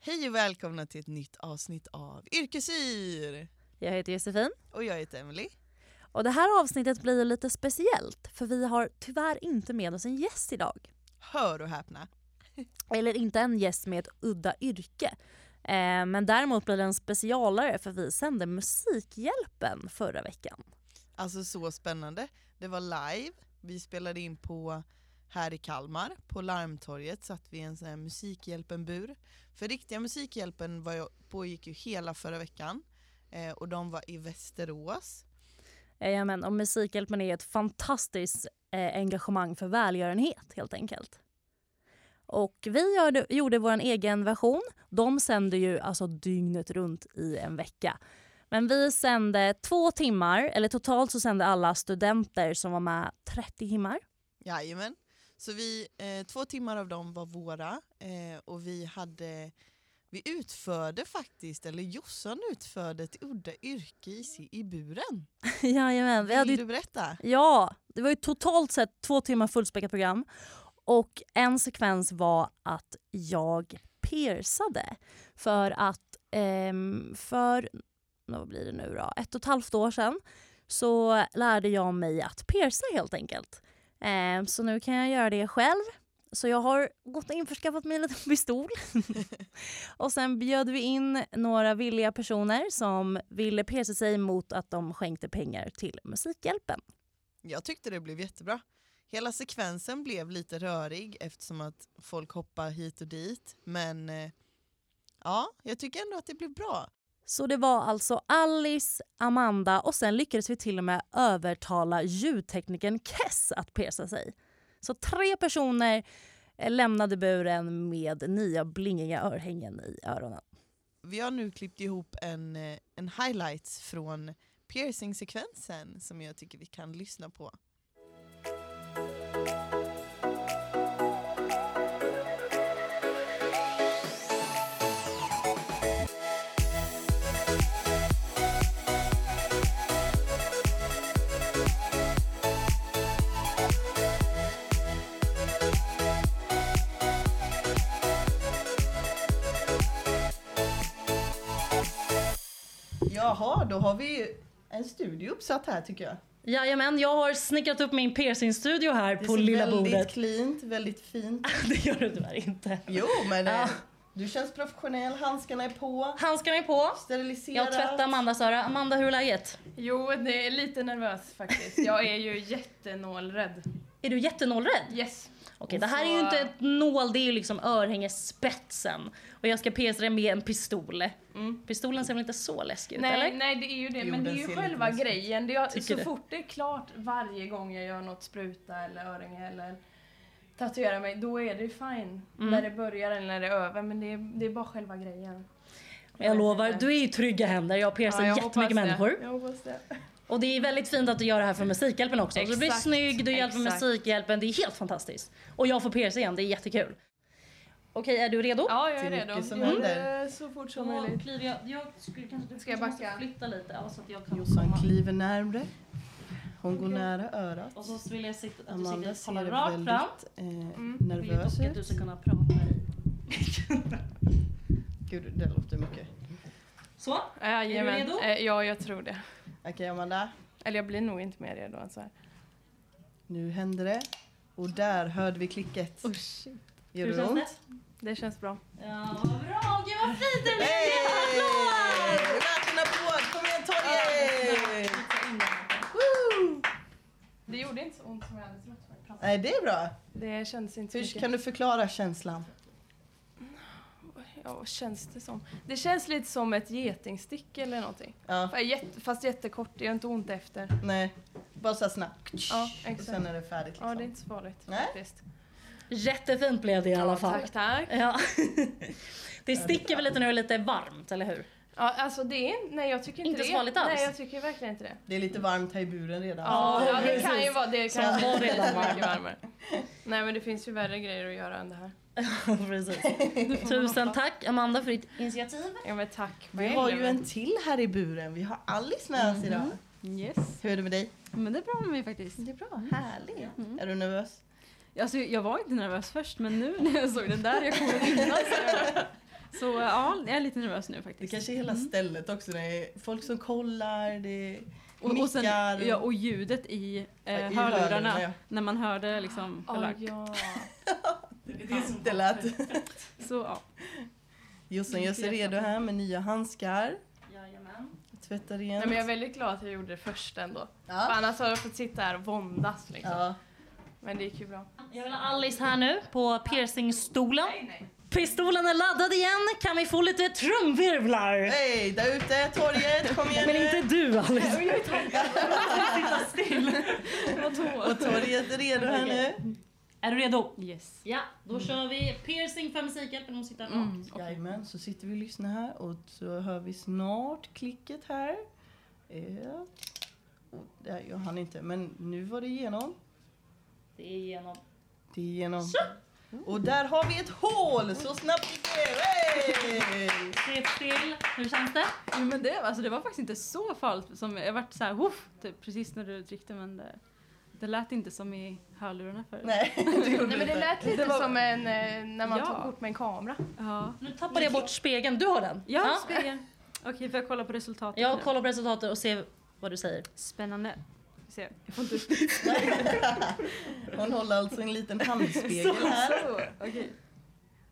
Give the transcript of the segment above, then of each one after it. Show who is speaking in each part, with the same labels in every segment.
Speaker 1: Hej och välkomna till ett nytt avsnitt av Yrkesyr!
Speaker 2: Jag heter Josefin
Speaker 1: Och jag heter Emily.
Speaker 2: och det här avsnittet blir ju lite speciellt för vi har tyvärr inte med oss en gäst idag.
Speaker 1: Hör och häpna.
Speaker 2: Eller inte en gäst med ett udda yrke. Eh, men däremot blir det en specialare för vi sände Musikhjälpen förra veckan.
Speaker 1: Alltså så spännande. Det var live. Vi spelade in på här i Kalmar. På Larmtorget satt vi i en sån här Musikhjälpen-bur. För riktiga Musikhjälpen var jag, pågick ju hela förra veckan. Eh, och de var i Västerås.
Speaker 2: Eh, men, och Musikhjälpen är ett fantastiskt eh, engagemang för välgörenhet helt enkelt. Och vi gör, gjorde vår egen version. De sänder ju alltså dygnet runt i en vecka. Men vi sände två timmar, eller totalt så sände alla studenter som var med 30 timmar.
Speaker 1: Jajamän. Så vi, eh, två timmar av dem var våra eh, och vi hade vi utförde faktiskt, eller Jossan utförde ett udda yrke i, si- i buren.
Speaker 2: Jajamän, vi hade
Speaker 1: Vill
Speaker 2: ju
Speaker 1: du berätta?
Speaker 2: Ja, det var ju totalt sett två timmar fullspäckat program. Och en sekvens var att jag persade. För att ehm, för, vad blir det nu då, ett och ett halvt år sedan så lärde jag mig att persa helt enkelt. Ehm, så nu kan jag göra det själv. Så jag har gått och införskaffat mig en liten pistol. och sen bjöd vi in några villiga personer som ville persa sig mot att de skänkte pengar till Musikhjälpen.
Speaker 1: Jag tyckte det blev jättebra. Hela sekvensen blev lite rörig eftersom att folk hoppar hit och dit. Men eh, ja, jag tycker ändå att det blev bra.
Speaker 2: Så det var alltså Alice, Amanda och sen lyckades vi till och med övertala ljudteknikern Kess att persa sig. Så tre personer eh, lämnade buren med nya blingiga örhängen i öronen.
Speaker 1: Vi har nu klippt ihop en, eh, en highlights från piercing-sekvensen som jag tycker vi kan lyssna på. Jaha, då har vi en studio uppsatt här tycker jag.
Speaker 2: Jajamän, jag har snickrat upp min piercingstudio här
Speaker 1: Det
Speaker 2: på
Speaker 1: ser
Speaker 2: lilla
Speaker 1: väldigt
Speaker 2: bordet.
Speaker 1: cleant, väldigt fint.
Speaker 2: Det gör du tyvärr inte.
Speaker 1: Jo, men eh,
Speaker 2: Ja.
Speaker 1: du känns professionell, handskarna är på,
Speaker 2: Handskarna är på.
Speaker 1: steriliserat.
Speaker 2: Jag tvättar Amandas öra. Amanda, hur är läget?
Speaker 3: Jo, det är lite nervös faktiskt. Jag är ju jättenålrädd.
Speaker 2: Är du jättenålrädd?
Speaker 3: Yes.
Speaker 2: Okej, det här är ju inte ett nål, det är ju liksom örhängespetsen. Och jag ska pierca det med en pistol.
Speaker 3: Mm.
Speaker 2: Pistolen ser väl inte så läskig ut
Speaker 3: Nej,
Speaker 2: eller?
Speaker 3: nej, det är ju det.
Speaker 1: Jo,
Speaker 3: Men det
Speaker 1: den
Speaker 3: är ju
Speaker 1: ser lite
Speaker 3: själva
Speaker 1: läskig ut.
Speaker 3: grejen. Det är,
Speaker 2: Tycker
Speaker 3: så
Speaker 2: det.
Speaker 3: fort det är klart varje gång jag gör något, spruta eller öringe eller tatuera mig, då är det ju fine. När det börjar eller när det är över. Men det är, det är bara själva grejen.
Speaker 2: Jag lovar, du är i trygga händer. Jag piercar
Speaker 3: jag hoppas
Speaker 2: jättemycket människor.
Speaker 3: Det. Jag hoppas det.
Speaker 2: Och det är väldigt fint att du gör det här för Musikhjälpen också. Så du blir
Speaker 3: Exakt,
Speaker 2: snygg, du hjälper
Speaker 3: exakt.
Speaker 2: Musikhjälpen. Det är helt fantastiskt. Och jag får pierca igen, det är jättekul. Okej, är du redo?
Speaker 3: Ja, jag är
Speaker 1: Det är
Speaker 3: redo.
Speaker 1: mycket som
Speaker 3: Gör
Speaker 1: händer.
Speaker 3: det Så fort
Speaker 2: Då
Speaker 3: som möjligt.
Speaker 2: kliver jag, jag skulle kanske du
Speaker 3: Ska jag
Speaker 2: kanske måste
Speaker 3: backa?
Speaker 2: flytta lite ja, så att jag kan
Speaker 1: Jossan
Speaker 2: komma.
Speaker 1: kliver närmre. Hon går
Speaker 2: Okej.
Speaker 1: nära örat.
Speaker 2: Och så vill jag sitta, att du
Speaker 1: Amanda
Speaker 2: sitter
Speaker 1: ser
Speaker 2: kollar rakt fram.
Speaker 1: väldigt eh,
Speaker 2: Jag vill ju
Speaker 1: nervös
Speaker 2: dock att du
Speaker 1: ut.
Speaker 2: ska kunna prata i.
Speaker 1: Gud, det låter mycket.
Speaker 2: Så,
Speaker 3: Jajamän.
Speaker 2: Är du redo?
Speaker 3: Eh, Ja, jag tror det.
Speaker 1: Okej Amanda,
Speaker 3: Eller jag blir nog inte mer redo än så här.
Speaker 1: nu händer det. Och där hörde vi klicket.
Speaker 3: Oh,
Speaker 1: Gör
Speaker 2: hur
Speaker 1: det
Speaker 2: känns
Speaker 1: ont?
Speaker 2: det?
Speaker 3: Det känns bra.
Speaker 2: Ja, vad bra! Gud vad fint det blev!
Speaker 1: Hey! Det är
Speaker 2: Applåd!
Speaker 1: värt en applåd! Kom igen Torje! Woo!
Speaker 3: Det gjorde inte så ont som jag hade trott. när jag pratade.
Speaker 1: Nej, det är bra.
Speaker 3: Det känns inte så
Speaker 1: Hur
Speaker 3: mycket.
Speaker 1: kan du förklara känslan?
Speaker 3: Ja, vad känns det som? Det känns lite som ett getingstick eller någonting.
Speaker 1: Ja,
Speaker 3: Fa- jätte- Fast jättekort, det gör inte ont efter.
Speaker 1: nej. Bara så här snabbt.
Speaker 3: Ja,
Speaker 1: Och
Speaker 3: exakt.
Speaker 1: sen är det färdigt liksom.
Speaker 3: Ja, det är inte så farligt
Speaker 1: Nej.
Speaker 3: faktiskt.
Speaker 2: Jättefint blev det i alla fall.
Speaker 3: Tack, tack.
Speaker 2: Ja. Det sticker väl lite nu och är lite varmt, eller hur?
Speaker 3: Ja, alltså det är, nej jag tycker inte,
Speaker 2: Inte
Speaker 3: det.
Speaker 2: så farligt alls.
Speaker 3: Nej, jag tycker verkligen inte det.
Speaker 1: Det är lite varmt här i buren redan.
Speaker 3: Ja,
Speaker 2: Ja,
Speaker 3: ja det kan
Speaker 2: precis.
Speaker 3: ju vara det.
Speaker 2: Så
Speaker 3: Kan
Speaker 2: han var redan varm.
Speaker 3: mycket varmare. Nej, men det finns ju värre grejer att göra än det här.
Speaker 2: Precis. Tusen tack Amanda för ditt initiativ.
Speaker 3: Ja, men tack
Speaker 1: Vi har ju en till här i buren. Vi har Alice med oss idag.
Speaker 4: Yes,
Speaker 1: Hur är det med dig?
Speaker 4: men det är bra med mig faktiskt.
Speaker 1: Det är bra. Härligt. Är du nervös?
Speaker 4: Alltså, jag var inte nervös först men nu när jag såg den där reaktionen innan så jag bara, Så ja, jag är lite nervös nu
Speaker 1: Det
Speaker 4: faktiskt.
Speaker 1: kanske är hela stället också, det är folk som kollar, det är
Speaker 4: och, och, sen,
Speaker 1: nickar.
Speaker 4: ja, och ljudet i, eh,
Speaker 1: Ja, i
Speaker 4: hörlurarna,
Speaker 1: hörlurarna, ja. Ah,
Speaker 4: när man hörde liksom själva-
Speaker 3: Ja, ja.
Speaker 1: det är som det lät.
Speaker 4: Så ja.
Speaker 1: Jossan gör sig redo här med nya handskar.
Speaker 4: Jajamän.
Speaker 1: Tvättar rent.
Speaker 3: Nej, men jag är väldigt glad att jag gjorde det först ändå. För
Speaker 1: ja.
Speaker 3: annars hade jag fått sitta här och våndas liksom.
Speaker 1: Ja.
Speaker 3: Men det gick ju bra.
Speaker 2: Jag vill ha Alice här nu på piercingstolen.
Speaker 3: nej.
Speaker 2: Pistolen är laddad igen. Kan vi få lite trumvirvlar?
Speaker 1: Hej, där ute, torget, kom igen
Speaker 2: Men
Speaker 1: nu.
Speaker 2: inte du Alice.
Speaker 4: Vad då?
Speaker 1: Och torget är redo här nu.
Speaker 2: Är du redo?
Speaker 4: Yes.
Speaker 2: Ja, då kör vi piercing för musikhjälpen. Hon sitter här
Speaker 4: Mm, okej.
Speaker 1: Jajamän, så sitter vi och lyssnar här och så hör vi snart klicket här. Eh, och Där, jag hann inte, men nu var det igenom.
Speaker 2: Det är igenom.
Speaker 1: Det är igenom. Och där har vi ett hål! Så snabbt gick det! Hey!
Speaker 2: Tre till. Hur känns det?
Speaker 4: Jo, men det, alltså, det var faktiskt inte så farligt. Som, jag vart så här, woof, typ, precis när du tryckte men det, det lät inte som i hörlurarna förut.
Speaker 1: Nej, det gjorde
Speaker 3: Nej men det
Speaker 1: inte.
Speaker 3: lät lite som en, eh, när man
Speaker 4: Ja.
Speaker 3: tog kort med en kamera.
Speaker 4: Ja.
Speaker 2: Nu tappade jag bort spegeln. Du har den?
Speaker 4: Ja, spegeln. Okej, får jag kolla på resultatet?
Speaker 2: Jag
Speaker 4: nu?
Speaker 2: kollar på resultatet och ser vad du säger.
Speaker 4: Spännande. Vi ser. Jag får inte upp
Speaker 1: Hon håller alltså en liten handspegel här.
Speaker 4: Så, Oh, okej.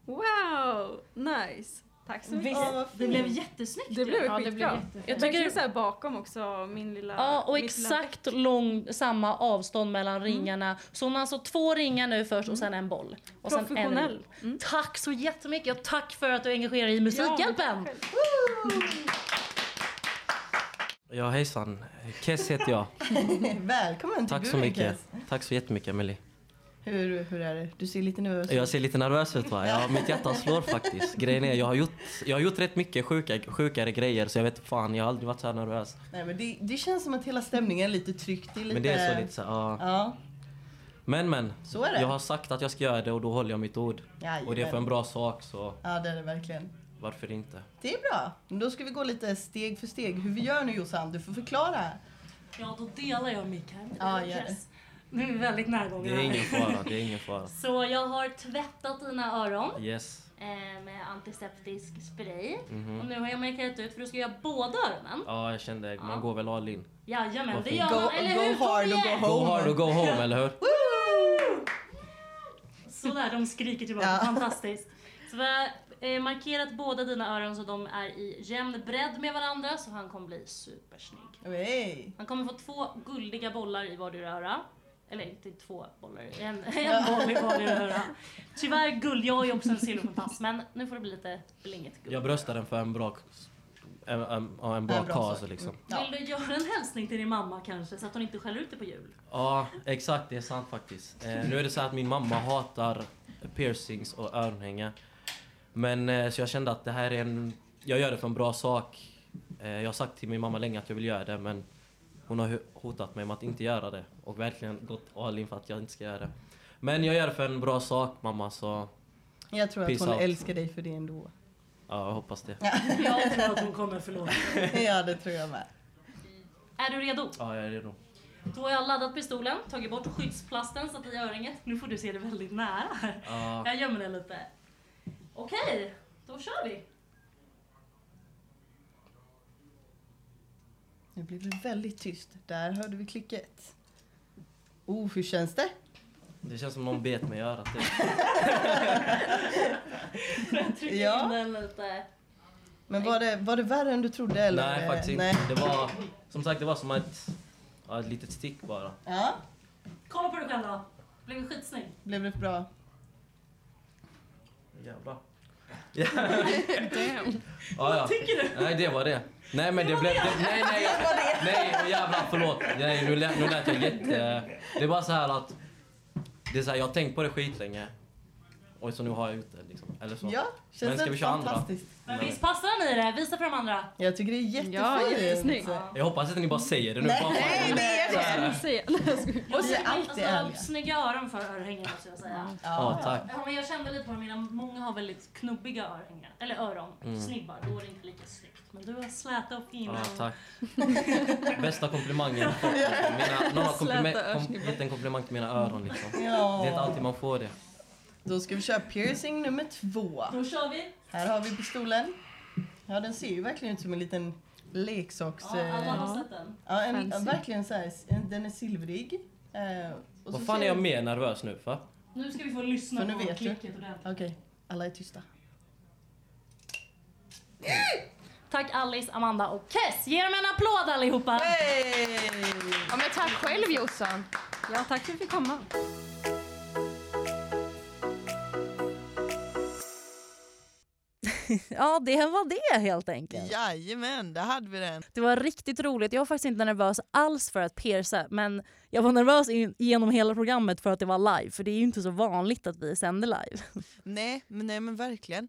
Speaker 4: Wow, nice. Tack så mycket.
Speaker 1: Ja, vad
Speaker 2: det
Speaker 1: fint.
Speaker 2: blev jättesnyggt.
Speaker 4: Det blev
Speaker 3: Ja, det blev
Speaker 4: skitbra.
Speaker 3: jättefint.
Speaker 4: jag tycker det är så här bakom också min lilla...
Speaker 2: Ja, och
Speaker 4: mitt lilla
Speaker 2: exakt lång, samma avstånd mellan ringarna. Så hon har alltså två ringar nu först och sen en boll. Och sen en ring.
Speaker 4: Professionell. Mm.
Speaker 2: Tack så jättemycket och tack för att du engagerar dig i Musikhjälpen.
Speaker 5: Ja, hejsan. Kess heter jag.
Speaker 1: Välkommen till
Speaker 5: Tack så
Speaker 1: Guren,
Speaker 5: mycket.
Speaker 1: Kes.
Speaker 5: Tack så jättemycket, Emelie.
Speaker 1: Hur, hur är det? Du ser lite nervös
Speaker 5: Jag ser lite nervös ut, va? Ja, mitt hjärta slår faktiskt. Grejen är, jag har gjort, jag har gjort rätt mycket sjuka, sjukare grejer, så jag vet fan, jag har aldrig varit så här nervös.
Speaker 1: Nej, men det, det känns som att hela stämningen är lite tryckt. Det är lite...
Speaker 5: Men det är så lite så här, ja.
Speaker 1: Ja,
Speaker 5: Men, men.
Speaker 1: Så är det.
Speaker 5: Jag har sagt att jag ska göra det och då håller jag mitt ord.
Speaker 1: Jajamän.
Speaker 5: Och det är för en bra sak, så
Speaker 1: ja, det är det verkligen.
Speaker 5: varför inte?
Speaker 1: Det är bra. Men Då ska vi gå lite steg för steg. Hur vi gör nu Jossan, du får förklara. här.
Speaker 2: Ja, då delar jag mick här med
Speaker 1: Ja,
Speaker 2: dig,
Speaker 1: gör det.
Speaker 2: Jess. Nu är vi väldigt
Speaker 5: Det
Speaker 2: närgångna
Speaker 5: är
Speaker 2: här.
Speaker 5: ingen fara, det är ingen fara.
Speaker 2: Så jag har tvättat dina öron
Speaker 5: Yes.
Speaker 2: eh, med antiseptisk spray.
Speaker 5: Mhm.
Speaker 2: Och nu har jag markerat ut för du ska göra båda öronen.
Speaker 5: Ja, jag kände, man går väl all in.
Speaker 2: Jajamän,
Speaker 5: Vad
Speaker 2: det
Speaker 5: fint.
Speaker 2: gör
Speaker 1: Go,
Speaker 2: man. Eller hur?
Speaker 1: go
Speaker 2: Kom
Speaker 1: hard och
Speaker 2: igen!
Speaker 1: go
Speaker 5: Go
Speaker 1: home.
Speaker 5: hard och go home, eller hur?
Speaker 2: Sådär, de skriker tillbaka.
Speaker 1: Ja.
Speaker 2: Fantastiskt. Så vi har eh, markerat båda dina öron så de är i jämn bredd med varandra så han kommer bli supersnygg.
Speaker 1: Hey.
Speaker 2: Han kommer få två guldiga bollar i vardera öra. Eller inte två bollar, en, en boll i vardera öra. Tyvärr guld, jag har ju också en silverkompass men nu får det bli lite blinget guld.
Speaker 5: Jag bröstar den för en bra, en, en, ja, en bra,
Speaker 1: En bra
Speaker 5: cause,
Speaker 1: sak.
Speaker 5: liksom.
Speaker 1: Ja.
Speaker 2: Vill du göra en hälsning till din mamma kanske så att hon inte skäller ut dig på jul?
Speaker 5: Ja, exakt. Det är sant faktiskt. Eh, nu är det så här att min mamma hatar piercings och örhängen. Men eh, så jag kände att det här är en... Jag gör det för en bra sak. Eh, jag har sagt till min mamma länge att jag vill göra det, men hon har hu- hotat mig med att inte göra det och verkligen gått all in för att jag inte ska göra det. Men jag gör det för en bra sak, mamma, så
Speaker 1: Jag tror att
Speaker 5: Peace
Speaker 1: hon
Speaker 5: out.
Speaker 1: älskar dig för det ändå.
Speaker 5: ja, jag hoppas det.
Speaker 2: Jag tror att hon kommer förlåta.
Speaker 1: ja, det tror jag med.
Speaker 2: Är du redo?
Speaker 5: Ja, jag är redo.
Speaker 2: Då har jag laddat pistolen, tagit bort skyddsplasten, satt i öringet. Nu får du se det väldigt nära här.
Speaker 5: Ja.
Speaker 2: Jag gömmer den lite. Okej, då kör vi.
Speaker 1: Nu blev det väldigt tyst. Där hörde vi klicket. Oh, hur känns det?
Speaker 5: Det känns som någon bet mig i örat. typ.
Speaker 2: Jag trycker
Speaker 1: Ja.
Speaker 2: in den lite.
Speaker 1: Men var det, var det värre än du trodde? Eller?
Speaker 5: Nej, faktiskt inte.
Speaker 1: Nej.
Speaker 5: Det var, som sagt, det var som ett, ja, ett litet stick bara.
Speaker 1: Ja,
Speaker 2: Kolla på dig själv då. Blev du skitsnygg?
Speaker 1: blev det bra?
Speaker 5: Jävlar.
Speaker 4: Damn.
Speaker 5: Ja, ja.
Speaker 2: Tycker du?
Speaker 5: Nej, det var det. Nej, men det, blev... Det, nej, nej. Det var det. Nej, åh, jävlar, förlåt. Nej, nu lät, nu lät jag jätte... Det är bara så här att... Det är så här, jag har tänkt på det skitlänge. Och så nu har jag ut det liksom. Eller så.
Speaker 1: Ja,
Speaker 5: Men
Speaker 1: känns
Speaker 5: ska
Speaker 1: det
Speaker 5: vi köra andra?
Speaker 1: fantastiskt?
Speaker 2: Men visst passar den i det? Visa för de andra.
Speaker 1: Jag tycker det är jättefint.
Speaker 4: Ja, jättesnyggt.
Speaker 5: Jag hoppas att ni bara säger det nu.
Speaker 1: Nej,
Speaker 5: Fan, fan.
Speaker 1: nej, nej.
Speaker 5: Så här.
Speaker 4: Säg- Nej, jag skojar.
Speaker 2: Jag
Speaker 1: Vi är
Speaker 2: tycker-
Speaker 1: alltid ärliga.
Speaker 2: alltså,
Speaker 1: Mm.
Speaker 2: snygga öron för örhängen måste jag säga.
Speaker 5: Ja, tack.
Speaker 2: Ja, men jag kände lite på det, mina, många har väldigt knubbiga örhängen, eller öron,
Speaker 1: Mm.
Speaker 2: snibbar, då är det inte lika snyggt. Men du har släta och fina.
Speaker 5: Ja, tack. Bästa komplimangen. Mina, någon har komplime-
Speaker 4: Släta
Speaker 5: kom,
Speaker 4: örsnibbar.
Speaker 5: gett en komplimang till mina öron liksom. Det är inte
Speaker 1: Ja.
Speaker 5: alltid man får det.
Speaker 1: Då ska vi köra piercing nummer två.
Speaker 2: Då kör vi.
Speaker 1: Här har vi pistolen. Ja, den ser ju verkligen ut som en liten leksaks... eh,
Speaker 2: har sett den.
Speaker 1: Ja, en,
Speaker 4: Fancy.
Speaker 1: verkligen så här, en- den är silvrig. Eh, och så
Speaker 5: Vad fan
Speaker 1: ser
Speaker 5: är jag
Speaker 1: den-
Speaker 5: mer nervös nu för?
Speaker 2: Nu ska vi få lyssna
Speaker 1: För nu vet du.
Speaker 2: ordentligt.
Speaker 1: Okej, alla är tysta.
Speaker 2: Tack Alice, Amanda och Kes. Ge dem en applåd allihopa.
Speaker 3: Ja men tack själv Jossan.
Speaker 4: Ja, tack för att vi fick komma.
Speaker 2: Ja, det var det helt enkelt.
Speaker 1: Jajamän, där hade vi den.
Speaker 2: Det var riktigt roligt. Jag var faktiskt inte nervös alls för att pierca, men jag var nervös in- genom hela programmet för att det var live, för det är ju inte så vanligt att vi sänder live.
Speaker 1: Nej men, nej, men verkligen.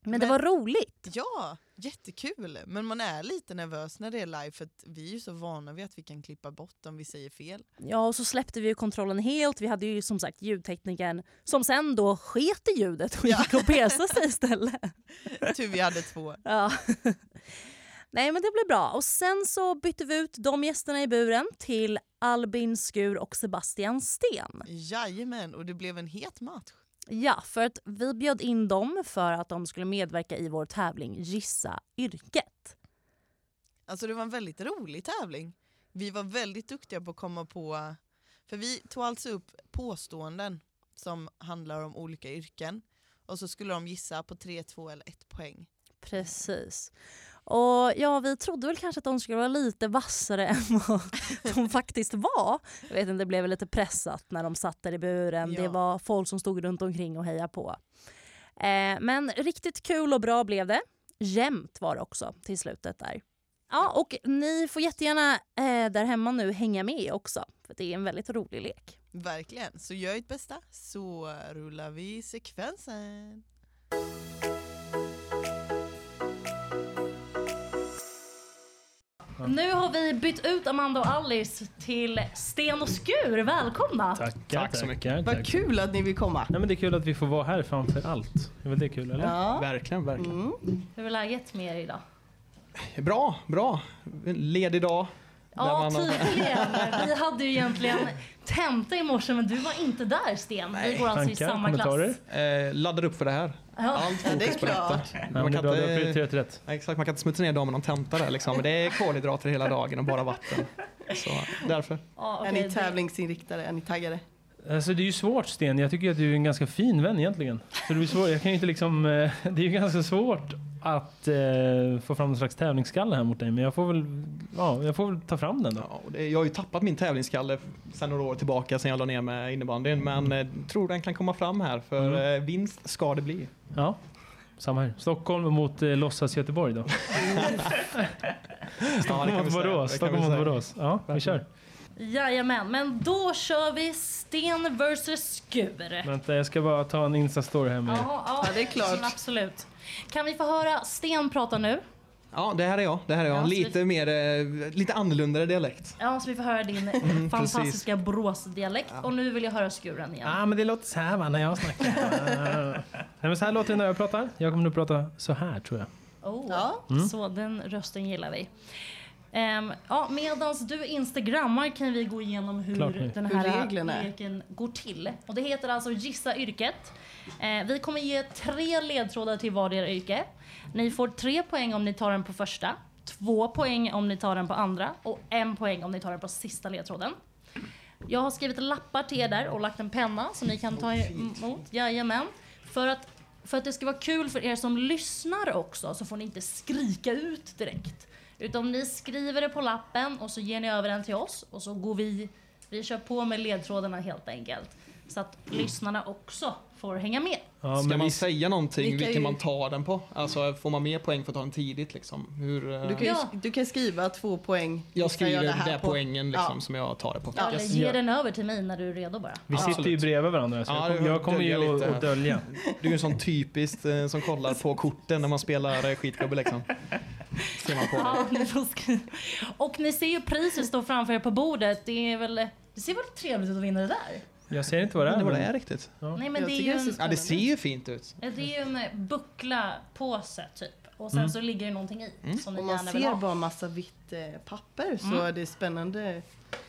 Speaker 2: Men, det
Speaker 1: Men-
Speaker 2: var roligt.
Speaker 1: Ja, jättekul. Men man är lite nervös när det är live för att vi är ju så vana vid att vi kan klippa bort om vi säger fel.
Speaker 2: Ja, och så släppte vi ju kontrollen helt. Vi hade ju som sagt ljudteknikern som sen då sket i ljudet och
Speaker 1: Ja.
Speaker 2: gick och pesade sig istället.
Speaker 1: Tur vi hade två.
Speaker 2: Ja. Nej men det blev bra. Och sen så bytte vi ut de gästerna i buren till Albin Skur och Sebastian Sten.
Speaker 1: Jajamän, och det blev en het match.
Speaker 2: Ja, för att vi bjöd in dem för att de skulle medverka i vår tävling Gissa yrket.
Speaker 1: Alltså det var en väldigt rolig tävling. Vi var väldigt duktiga på att komma på, för vi tog alltså upp påståenden som handlar om olika yrken och så skulle de gissa på 3, 2 eller 1 poäng.
Speaker 2: Precis. Och ja, vi trodde väl kanske att de skulle vara lite vassare än vad de faktiskt var. Jag vet inte, det blev väl lite pressat när de satt där i buren. Det
Speaker 1: Ja.
Speaker 2: var folk som stod runt omkring och hejade på. Eh, men riktigt kul och bra blev det. Jämnt var det också till slutet där. Ja, och ni får jättegärna eh, där hemma nu hänga med också, för det är en väldigt rolig lek.
Speaker 1: Verkligen, så gör ert bästa så rullar vi sekvensen.
Speaker 2: Nu har vi bytt ut Amanda och Alice till Sten och Skur. Välkomna!
Speaker 6: Tackar,
Speaker 7: Tack så mycket.
Speaker 6: tackar,
Speaker 1: Vad
Speaker 6: tack.
Speaker 1: kul att ni vill komma!
Speaker 6: Nej, men det är kul att vi får vara här framför allt. Är väl det kul eller?
Speaker 1: Ja.
Speaker 7: Verkligen, verkligen.
Speaker 1: Mm.
Speaker 2: Hur är läget med er idag?
Speaker 7: Bra, bra. Ledig dag. Där
Speaker 2: Ja,
Speaker 7: man-
Speaker 2: tydligen. Vi hade ju egentligen tenta i morse men du var inte där Sten. Vi går alltså i
Speaker 6: Tankar,
Speaker 2: samma
Speaker 6: kommentarer?
Speaker 2: klass.
Speaker 7: Eh, laddar upp för det här.
Speaker 2: Ja.
Speaker 7: Allt
Speaker 1: Ja, det
Speaker 7: fokus
Speaker 1: är
Speaker 7: på detta.
Speaker 1: klart.
Speaker 6: Nej, men det är bra, du har
Speaker 7: inte,
Speaker 6: prioriterat rätt.
Speaker 7: ja, exakt, man kan inte smutsa ner damen om tenta där liksom. Det är kolhydrater hela dagen och bara vatten. Så därför.
Speaker 2: Ja,
Speaker 1: Är
Speaker 2: okej,
Speaker 1: ni tävlingsinriktade? Är ni taggade?
Speaker 6: Alltså, det är ju svårt Sten, jag tycker att du är en ganska fin vän egentligen. Så det, blir svårt. Jag kan ju inte liksom, eh, det är ju ganska svårt att eh, få fram någon slags tävlingsskalle här mot dig, men jag får väl, ja, jag får väl ta fram den då.
Speaker 7: Ja, och det, jag har ju tappat min tävlingsskalle sedan några år tillbaka sedan jag la ner med innebandyn. Men eh, tror den kan komma fram här för
Speaker 6: Mm.
Speaker 7: eh, vinst ska det bli.
Speaker 6: Ja, samma här. Stockholm mot eh, låtsas Göteborg då.
Speaker 7: Ja, det
Speaker 6: Stockholm
Speaker 7: kan vi
Speaker 6: mot
Speaker 7: säga.
Speaker 6: Borås.
Speaker 7: Det kan
Speaker 6: Stockholm
Speaker 7: vi
Speaker 6: mot
Speaker 7: säga.
Speaker 6: Borås. Ja, vi kör.
Speaker 2: det- Jajamän, men då kör vi Sten versus Skur.
Speaker 6: Vänta, jag ska bara ta en Insta-story här med
Speaker 2: Ja, ja,
Speaker 1: Ja, det är klart.
Speaker 2: Absolut. Kan vi få höra Sten prata nu?
Speaker 7: Ja, det här är jag. Det här är jag.
Speaker 2: Ja, så vi-
Speaker 7: lite, mer, eh, lite annorlunda dialekt.
Speaker 2: Ja, så vi får höra din fantastiska Boråsdialekt. Och nu vill jag höra skuren igen.
Speaker 6: Ja, ah, men det låter så här va, när jag snackar. Ah. Nej, men så här låter det när jag pratar. Jag kommer nog prata så här tror jag.
Speaker 2: Oh,
Speaker 1: Ja.
Speaker 2: Så den rösten gillar vi. Ehm, ja, Medan du instagrammar kan vi gå igenom
Speaker 6: Klart
Speaker 2: hur
Speaker 6: nu.
Speaker 2: den
Speaker 1: Hur
Speaker 2: här
Speaker 1: reglerna är.
Speaker 2: leken går till. Och det heter alltså Gissa yrket. Eh, vi kommer ge tre ledtrådar till vardera yrke. Ni får tre poäng om ni tar den på första, två poäng om ni tar den på andra och en poäng om ni tar den på sista ledtråden. Jag har skrivit lappar till er där och lagt en penna som ni kan ta emot. Jajamän. För att, för att det ska vara kul för er som lyssnar också så får ni inte skrika ut direkt. Utan ni skriver det på lappen och så ger ni över den till oss och så går vi, vi kör på med ledtrådarna helt enkelt. Så att lyssnarna också får hänga med.
Speaker 6: Ja,
Speaker 7: Ska
Speaker 6: men
Speaker 7: man
Speaker 6: vi,
Speaker 7: säga någonting
Speaker 1: Vilka
Speaker 7: vilken
Speaker 1: är-
Speaker 7: man tar den på? Alltså får man mer poäng för att ta den tidigt liksom? Hur, eh,
Speaker 1: Du kan, ju,
Speaker 2: Ja.
Speaker 1: du kan skriva två poäng.
Speaker 7: jag
Speaker 1: Ska jag
Speaker 7: skriver
Speaker 1: göra
Speaker 7: den
Speaker 1: det här
Speaker 7: där
Speaker 1: på?
Speaker 7: poängen liksom,
Speaker 1: Ja.
Speaker 7: som jag tar det på.
Speaker 2: Ja,
Speaker 1: Yes.
Speaker 2: eller ge
Speaker 6: Ja.
Speaker 2: den över till mig när du är redo bara.
Speaker 6: vi sitter ju
Speaker 7: Absolut.
Speaker 6: bredvid varandra så
Speaker 7: Ja,
Speaker 6: jag, kom,
Speaker 7: det-
Speaker 6: jag kommer
Speaker 7: dölja
Speaker 6: ju
Speaker 7: lite.
Speaker 6: att att dölja.
Speaker 7: Du är ju en sån typisk eh, som kollar på korten när man spelar eh, skitgubbe liksom. Ser man på det.
Speaker 2: Ja, ni får skriva. Och ni ser ju priset stå framför er på bordet. Det, är väl, det ser väl trevligt ut att vinna det där?
Speaker 6: Jag ser inte
Speaker 7: Jag
Speaker 6: vad det
Speaker 7: vet
Speaker 6: är.
Speaker 7: inte vad det
Speaker 6: Men,
Speaker 7: är riktigt.
Speaker 2: Nej, men
Speaker 1: Jag
Speaker 2: det är
Speaker 1: tycker
Speaker 2: ju
Speaker 1: det ser
Speaker 2: en
Speaker 7: Ja, det ser ju fint ut.
Speaker 2: Ja, Det är ju en buckla påse typ. Och sen så ligger det någonting i som ni
Speaker 1: Om man
Speaker 2: gärna vill ha. Mm.
Speaker 1: ser bara massa vitt eh, papper så är det spännande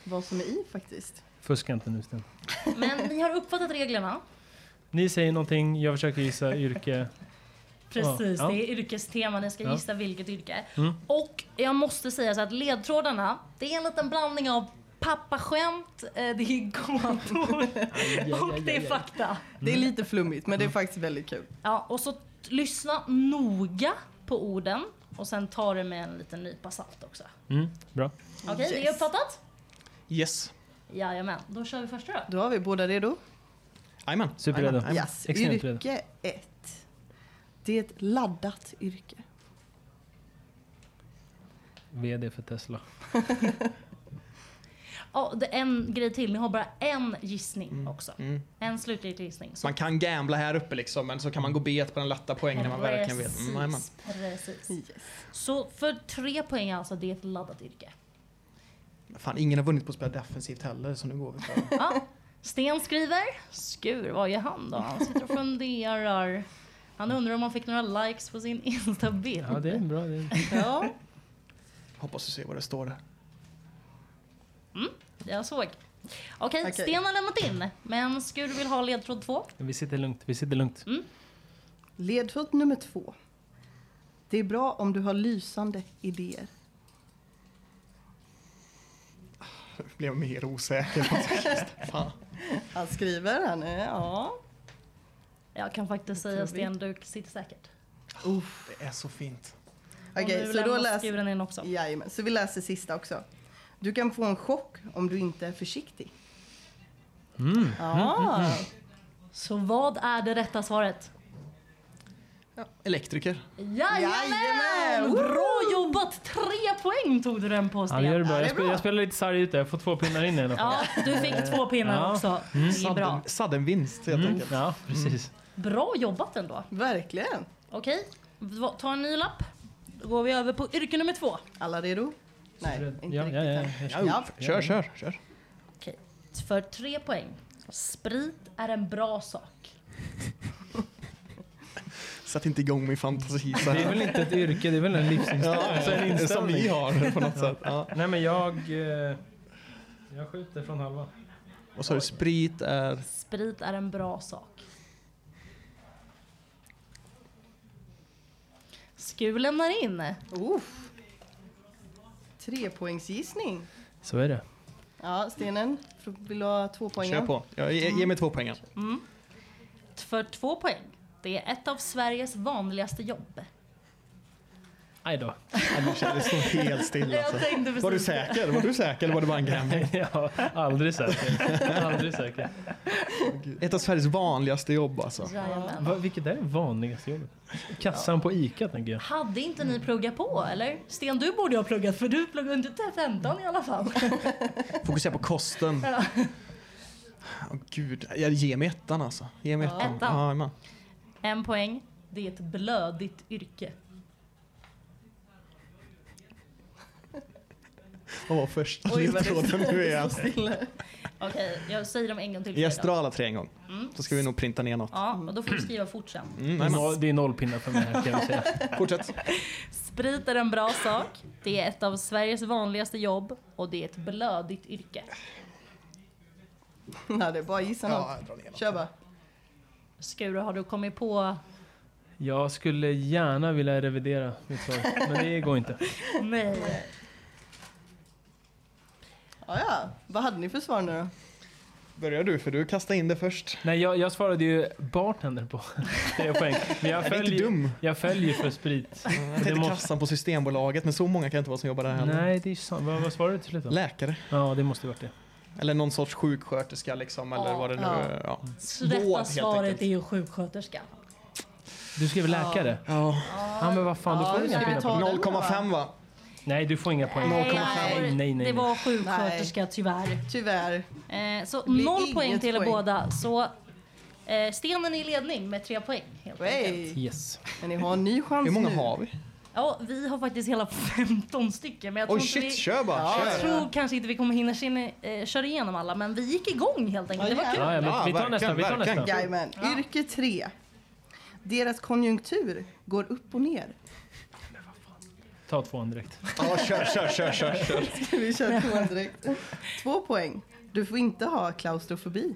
Speaker 1: vad som är i faktiskt.
Speaker 6: fuska inte nu Sten.
Speaker 2: Men ni har uppfattat reglerna.
Speaker 6: Ni säger någonting, jag försöker gissa yrke.
Speaker 2: Precis,
Speaker 6: Ja.
Speaker 2: det är yrkestema. Ni ska
Speaker 6: Ja.
Speaker 2: gissa vilket yrke.
Speaker 6: Mm.
Speaker 2: Och jag måste säga så att ledtrådarna, det är en liten blandning av pappaskämt, eh, det är gåtor och det är fakta.
Speaker 1: Det är
Speaker 7: Mm.
Speaker 1: lite flummigt men det är faktiskt väldigt kul.
Speaker 2: Ja, och så t- lyssna noga på orden och sen ta det med en liten nypa salt också.
Speaker 6: Mm, bra.
Speaker 2: Okej, det är uppfattat?
Speaker 7: Yes.
Speaker 2: Jajamän, då kör vi första då.
Speaker 1: Då har vi båda redo.
Speaker 7: Jajamän.
Speaker 6: Superredo.
Speaker 7: Jajamän. Jajamän.
Speaker 1: Yes.
Speaker 6: Extremt
Speaker 1: Yrke 1. Det är ett laddat yrke.
Speaker 6: VD för Tesla.
Speaker 2: Ja, det är en grej till, ni har bara en gissning också.
Speaker 7: Mm.
Speaker 2: En slutlig gissning. Så
Speaker 7: Man kan gambla här uppe liksom, men så kan man gå bet på den lätta poängen när man verkligen vet.
Speaker 2: Precis,
Speaker 7: Mm, jajamän.
Speaker 2: precis. Så för tre poäng alltså, det är ett laddat yrke.
Speaker 7: Fan, ingen har vunnit på att spela defensivt heller, så nu går vi för
Speaker 2: Ja. Sten skriver. Skur, vad gör han då? Han sitter och funderar. Han
Speaker 7: Mm.
Speaker 2: undrar om han fick några likes på sin Insta-bild.
Speaker 6: Ja, det är bra. Det är...
Speaker 2: Ja,
Speaker 7: Hoppas du ser vad det står där.
Speaker 2: jag såg. Okej,
Speaker 1: Okej.
Speaker 2: Sten har lämnat in. Men Skur vill ha ledtråd två.
Speaker 6: Vi sitter lugnt. Vi sitter lugnt.
Speaker 8: Ledtråd nummer två. Det är bra om du har lysande idéer.
Speaker 7: Jag blev mer osäker. Faktiskt. Fan.
Speaker 8: Han skriver, han är, ja.
Speaker 2: Jag kan faktiskt säga Sten, du sitter säkert.
Speaker 7: Det är så fint.
Speaker 2: Och
Speaker 8: Okej,
Speaker 2: nu
Speaker 8: så då
Speaker 2: lämnar
Speaker 8: läser...
Speaker 2: Skuren in också.
Speaker 8: Jajamän, så vi läser sista också. Du kan få en chock om du inte är försiktig.
Speaker 6: Mm.
Speaker 8: Ja,
Speaker 2: Så vad är det rätta svaret?
Speaker 7: Ja, elektriker.
Speaker 2: Jajamän!
Speaker 8: Jajamän!
Speaker 2: Bra jobbat! Tre poäng tog du den på
Speaker 6: Ja, det gör det
Speaker 2: Sten.
Speaker 8: Ja, det
Speaker 6: bra. Jag,
Speaker 8: är
Speaker 6: spe-
Speaker 8: bra.
Speaker 6: jag spelar lite sarg ut där. Jag får två pinnar in i alla fall.
Speaker 2: Ja, du fick två pinnar
Speaker 6: Ja.
Speaker 2: också. Det är bra.
Speaker 7: Sudden, sudden vinst helt
Speaker 6: Mm.
Speaker 7: enkelt.
Speaker 6: Ja, precis.
Speaker 2: Bra jobbat ändå.
Speaker 8: verkligen.
Speaker 2: Okej, va- ta en ny lapp. Då går vi över på yrke nummer två.
Speaker 8: Alla redo? Nej, inte
Speaker 6: Ja,
Speaker 8: riktigt
Speaker 6: ja, ja.
Speaker 8: än.
Speaker 6: Jag kör.
Speaker 7: Ja, kör, kör, kör.
Speaker 2: Okej, för tre poäng. Sprit är en bra sak.
Speaker 7: Sätt inte igång min fantasi så
Speaker 6: Det är
Speaker 7: här.
Speaker 6: väl inte ett yrke, det är väl en livsinställning. Alltså en
Speaker 7: Som
Speaker 6: inställning.
Speaker 7: vi har på något sätt. Ja.
Speaker 6: Nej men jag... eh, Jag skjuter från halva.
Speaker 7: Och så är det sprit är...
Speaker 2: Sprit är en bra sak. Skur lämnar in.
Speaker 8: Uff. Trepoängsgissning.
Speaker 6: Så är det.
Speaker 8: Ja, Stenen, vill du ha två poäng?
Speaker 7: Kör på. Ja, ge, ge mig två poängen.
Speaker 2: För två poäng. Det är ett av Sveriges vanligaste jobb.
Speaker 6: Aj då.
Speaker 7: Nu kändes det så helt stilla. Alltså.
Speaker 2: tänkte
Speaker 7: Var du säker? Var du säker eller var det bara en gambling?
Speaker 6: Ja, aldrig säker. Aldrig säker.
Speaker 7: Ett av Sveriges vanligaste jobb alltså.
Speaker 2: Jajamän.
Speaker 6: Va, vilket är det vanligaste jobbet? Kassan på ICA tänker jag.
Speaker 2: Hade inte ni pluggat på eller? Sten du borde ha pluggat för du pluggade inte till 15 i alla fall.
Speaker 7: Fokusera på kosten.
Speaker 2: Ja.
Speaker 7: Åh gud, jag ge mig ettan alltså. Ge mig ettan.
Speaker 2: Ettan.
Speaker 7: Ja, jajamän.
Speaker 2: En poäng. Det är ett blödigt yrke.
Speaker 7: Vad var första
Speaker 8: Oj, vad det
Speaker 7: ledtråden nu igen?
Speaker 2: Okej, jag säger dem en gång till. för
Speaker 7: Gäster
Speaker 2: dig
Speaker 7: har alla tre en gång.
Speaker 2: då. Mm.
Speaker 7: Då ska vi nog printa ner något.
Speaker 2: Ja, och då får du skriva fort sen.
Speaker 7: Mm,
Speaker 6: Det är,
Speaker 7: jajamän.
Speaker 6: noll, det är noll pinnar för mig här kan jag säga.
Speaker 7: Fortsätt.
Speaker 2: Sprit är en bra sak. Det är ett av Sveriges vanligaste jobb och det är ett blödigt yrke.
Speaker 8: Nej, det är bara att gissa något.
Speaker 7: Ja, jag drar ner något.
Speaker 8: Kör bara.
Speaker 2: Skuru, har du kommit på?
Speaker 6: Jag skulle gärna vilja revidera mitt svar, men det går inte.
Speaker 2: Nej.
Speaker 8: Ja, ja. Vad hade ni för svar nu då?
Speaker 7: Börjar du för du kastade in det först.
Speaker 6: Nej, jag, jag svarade ju bartender på tre poäng. Men jag
Speaker 7: Jag är inte
Speaker 6: följer,
Speaker 7: dum.
Speaker 6: jag följer för sprit.
Speaker 7: Jag tänkte
Speaker 6: måste-
Speaker 7: kassan på Systembolaget, men så många kan inte vara som jobbar där heller.
Speaker 6: Nej, det är sant. Vad, vad svarade du till slut då?
Speaker 7: Läkare.
Speaker 6: Ja, det måste ju varit det.
Speaker 7: Eller någon sorts sjuksköterska liksom, eller
Speaker 2: Ja,
Speaker 7: vad det nu
Speaker 2: ja.
Speaker 7: är. Ja.
Speaker 2: Så
Speaker 7: Vård,
Speaker 2: Rätta
Speaker 7: helt
Speaker 2: svaret
Speaker 7: enkelt.
Speaker 2: är ju sjuksköterska.
Speaker 6: Du skrev läkare?
Speaker 7: ja.
Speaker 6: Ja, men vad fan, du
Speaker 2: Ja,
Speaker 6: får
Speaker 2: det
Speaker 6: inga
Speaker 2: ska vi
Speaker 6: pinnar
Speaker 2: ta.
Speaker 6: på.
Speaker 7: 0,5 va?
Speaker 6: Nej, du får inga poäng.
Speaker 2: Nej,
Speaker 6: Nej, nej, nej.
Speaker 2: Det var sjuksköterska tyvärr.
Speaker 8: Tyvärr.
Speaker 2: Eh, så
Speaker 8: blir
Speaker 2: noll
Speaker 8: inget
Speaker 2: poäng till er
Speaker 8: poäng.
Speaker 2: båda. Så eh, stenen är i ledning med tre poäng helt enkelt.
Speaker 8: Hey.
Speaker 6: Yes.
Speaker 8: Men ni har en ny chans
Speaker 7: Hur många
Speaker 8: nu.
Speaker 7: har vi?
Speaker 2: Ja, vi har faktiskt hela 15 stycken. Men jag tror,
Speaker 7: Oj
Speaker 2: inte
Speaker 7: shit,
Speaker 2: vi,
Speaker 7: kör bara!
Speaker 2: jag
Speaker 7: kör.
Speaker 2: tror kanske inte vi kommer hinna kine, eh, köra igenom alla, men vi gick igång helt enkelt. Det var kul.
Speaker 6: Ja, ja, men
Speaker 7: Ja,
Speaker 6: vi tar nästa.
Speaker 7: verkligen,
Speaker 6: Vi tar nästa.
Speaker 7: verkligen.
Speaker 8: Jajamän. Yrke 3. Deras konjunktur går upp och ner.
Speaker 6: Ta tvåan direkt.
Speaker 7: Ja, kör, kör, kör, kör, kör.
Speaker 8: Vi kör tvåan direkt. Två poäng. Du får inte ha klaustrofobi.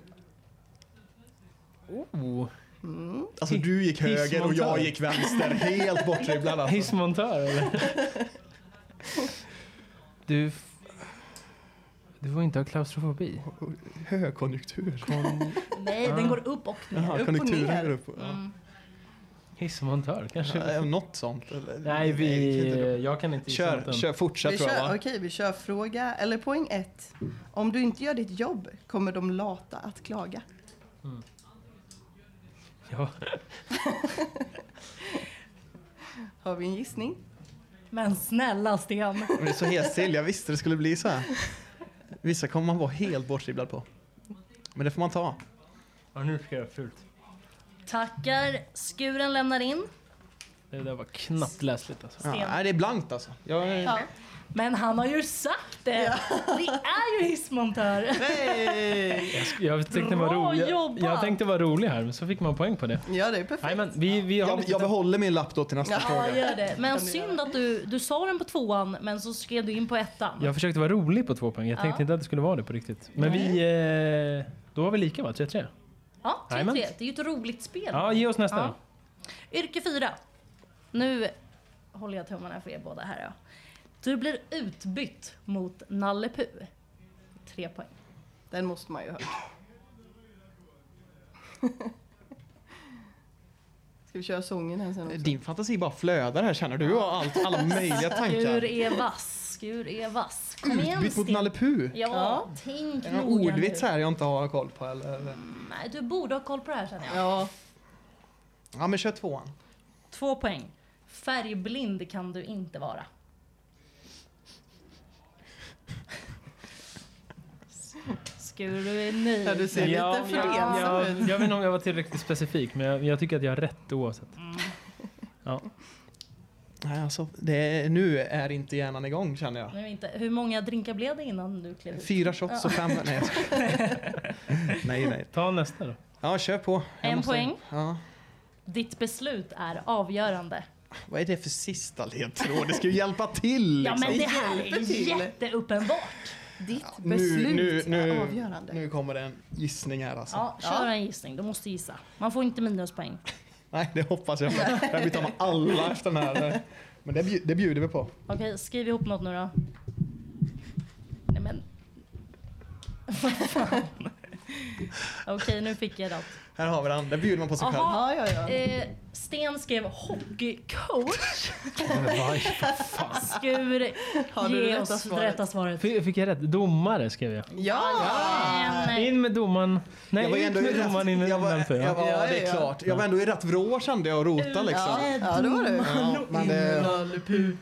Speaker 6: Oh,
Speaker 1: Mm.
Speaker 7: Alltså du gick höger och jag gick vänster. Helt bortdribblad alltså.
Speaker 6: hissmontör eller? Du... f- Du får inte ha klaustrofobi.
Speaker 7: Högkonjunktur.
Speaker 6: Kon...
Speaker 2: Nej,
Speaker 6: Ah.
Speaker 2: den går upp och ner.
Speaker 7: Jaha,
Speaker 1: upp och
Speaker 7: konjunkturen
Speaker 1: ner.
Speaker 7: går upp. och- Ja.
Speaker 2: Mm.
Speaker 6: Hissmontör kanske?
Speaker 7: Ja, något sånt. eller?
Speaker 6: Nej,
Speaker 7: kan inte
Speaker 6: vi...
Speaker 7: du-
Speaker 6: Jag kan inte gissa
Speaker 7: Kör,
Speaker 6: något än.
Speaker 7: kör, fortsätt
Speaker 1: vi
Speaker 7: tror jag
Speaker 1: kör,
Speaker 7: va?
Speaker 1: okej, vi kör fråga, eller poäng ett. Om du inte gör ditt jobb kommer de lata att klaga.
Speaker 7: Mm.
Speaker 6: Ja.
Speaker 1: Har vi en gissning?
Speaker 2: Men snälla Sten.
Speaker 7: Men Det är så hetstil, jag visste det skulle bli så här. Vissa kommer man vara helt bortdribblad på. Men det får man ta.
Speaker 6: ja, nu ska jag göra fult.
Speaker 2: Tackar. Skuren lämnar in.
Speaker 6: Det där var knappt läsligt alltså.
Speaker 7: Ja,
Speaker 2: Sten.
Speaker 7: nej, det är blankt alltså. Jag,
Speaker 2: Ja. Men han har ju sagt det. Det är ju hissmontör.
Speaker 1: Nej!
Speaker 6: Jag sk- Jag tänkte
Speaker 2: Bra
Speaker 6: vara rolig. Jag,
Speaker 2: jobbat!
Speaker 6: jag tänkte vara rolig här, men så fick man poäng på det.
Speaker 1: Ja, det är perfekt.
Speaker 6: Nej men vi, vi har
Speaker 7: jag,
Speaker 6: lite-
Speaker 7: jag behåller min lapp då till nästa
Speaker 2: Ja,
Speaker 7: fråga.
Speaker 2: gör det. Men synd att du, du sa den på tvåan, men så skrev du in på ettan.
Speaker 6: jag försökte vara rolig på två poäng. Jag tänkte
Speaker 2: Ja.
Speaker 6: inte att det skulle vara det på riktigt. Men vi... eh, Då har vi lika va? 3-3?
Speaker 2: Ja, 3-3.
Speaker 6: Jajamän.
Speaker 2: Det är ju ett roligt spel.
Speaker 6: Ja, ge oss nästa
Speaker 2: Ja.
Speaker 6: då.
Speaker 2: Yrke 4. Nu håller jag tummarna för er båda här. Ja. Du blir utbytt mot Nalle Puh. Tre poäng.
Speaker 1: Den måste man ju ha hört. Ska vi köra sången här sen också?
Speaker 7: Din fantasi bara flödar här känner du. Du har allt, alla möjliga
Speaker 2: Skur
Speaker 7: tankar.
Speaker 2: är vass, skur är vass. Kom igen
Speaker 7: Byt Mm, mot
Speaker 2: Sten.
Speaker 7: Nalle Puh.
Speaker 2: Ja, tänk
Speaker 7: Är det någon
Speaker 2: noga
Speaker 7: ordvits
Speaker 2: nu.
Speaker 7: här jag inte har koll på eller?
Speaker 2: Nej, du borde ha koll på det här känner jag.
Speaker 1: Ja,
Speaker 7: Ja men kör tvåan.
Speaker 2: Två poäng. Färgblind kan du inte vara. Skur, du är nöjd.
Speaker 1: ja, du ser lite
Speaker 6: jag,
Speaker 1: förlensam
Speaker 6: jag,
Speaker 1: ut.
Speaker 6: jag vet inte om jag var tillräckligt specifik, men jag, jag tycker att jag har rätt oavsett.
Speaker 7: Nej alltså, det är, nu är inte hjärnan igång känner jag.
Speaker 2: Nu inte. Hur många drinkar blev det innan du klev ut?
Speaker 7: Fyra shots och fem... Nej, jag skojar. nej, nej.
Speaker 6: Ta nästa då.
Speaker 7: Ja, kör på. Jag
Speaker 2: En
Speaker 7: måste-
Speaker 2: poäng.
Speaker 7: Ja.
Speaker 2: Ditt beslut är avgörande.
Speaker 7: Vad är det för sista ledtråd? Det ska ju hjälpa till
Speaker 2: Ja
Speaker 7: liksom.
Speaker 2: men det här är
Speaker 1: hjälper till.
Speaker 2: jätteuppenbart.
Speaker 1: Ditt
Speaker 7: nu-
Speaker 1: beslut
Speaker 7: nu- nu-
Speaker 1: är avgörande.
Speaker 7: Nu kommer det en gissning här alltså.
Speaker 2: Ja, kör en gissning, du måste gissa. Man får inte minuspoäng.
Speaker 7: Nej, det hoppas jag. Jag vill ta med alla efter den här. Men det, bju- det bjuder vi på.
Speaker 2: Okej, skriv ihop något nu då. Nej men... Vad fan. Okej, nu fick jag något.
Speaker 7: Här har vi den. Det bjuder man på sig själv.
Speaker 2: Jaha.
Speaker 1: Ja, ja, ja.
Speaker 2: Eh, Sten skrev hockeycoach. Skur,
Speaker 1: Har du
Speaker 2: ge
Speaker 1: det
Speaker 2: oss
Speaker 1: rätta
Speaker 2: det
Speaker 1: svaret?
Speaker 2: rätta svaret.
Speaker 6: Fick, fick jag rätt? Domare skrev jag.
Speaker 1: Ja!
Speaker 2: Men,
Speaker 6: In med domaren. Nej,
Speaker 7: Jag var
Speaker 6: ut
Speaker 7: ändå i
Speaker 6: med domaren in med
Speaker 7: rätt... Jag var,
Speaker 6: domaren.
Speaker 7: jag
Speaker 6: Ja.
Speaker 7: var,
Speaker 1: Ja, ja,
Speaker 7: det är
Speaker 1: ja.
Speaker 7: klart. Jag var ändå i rätt vrå kände jag och rota liksom.
Speaker 1: Ja, ja, det var du.
Speaker 7: eh, Ja, men det...
Speaker 1: Lallepu,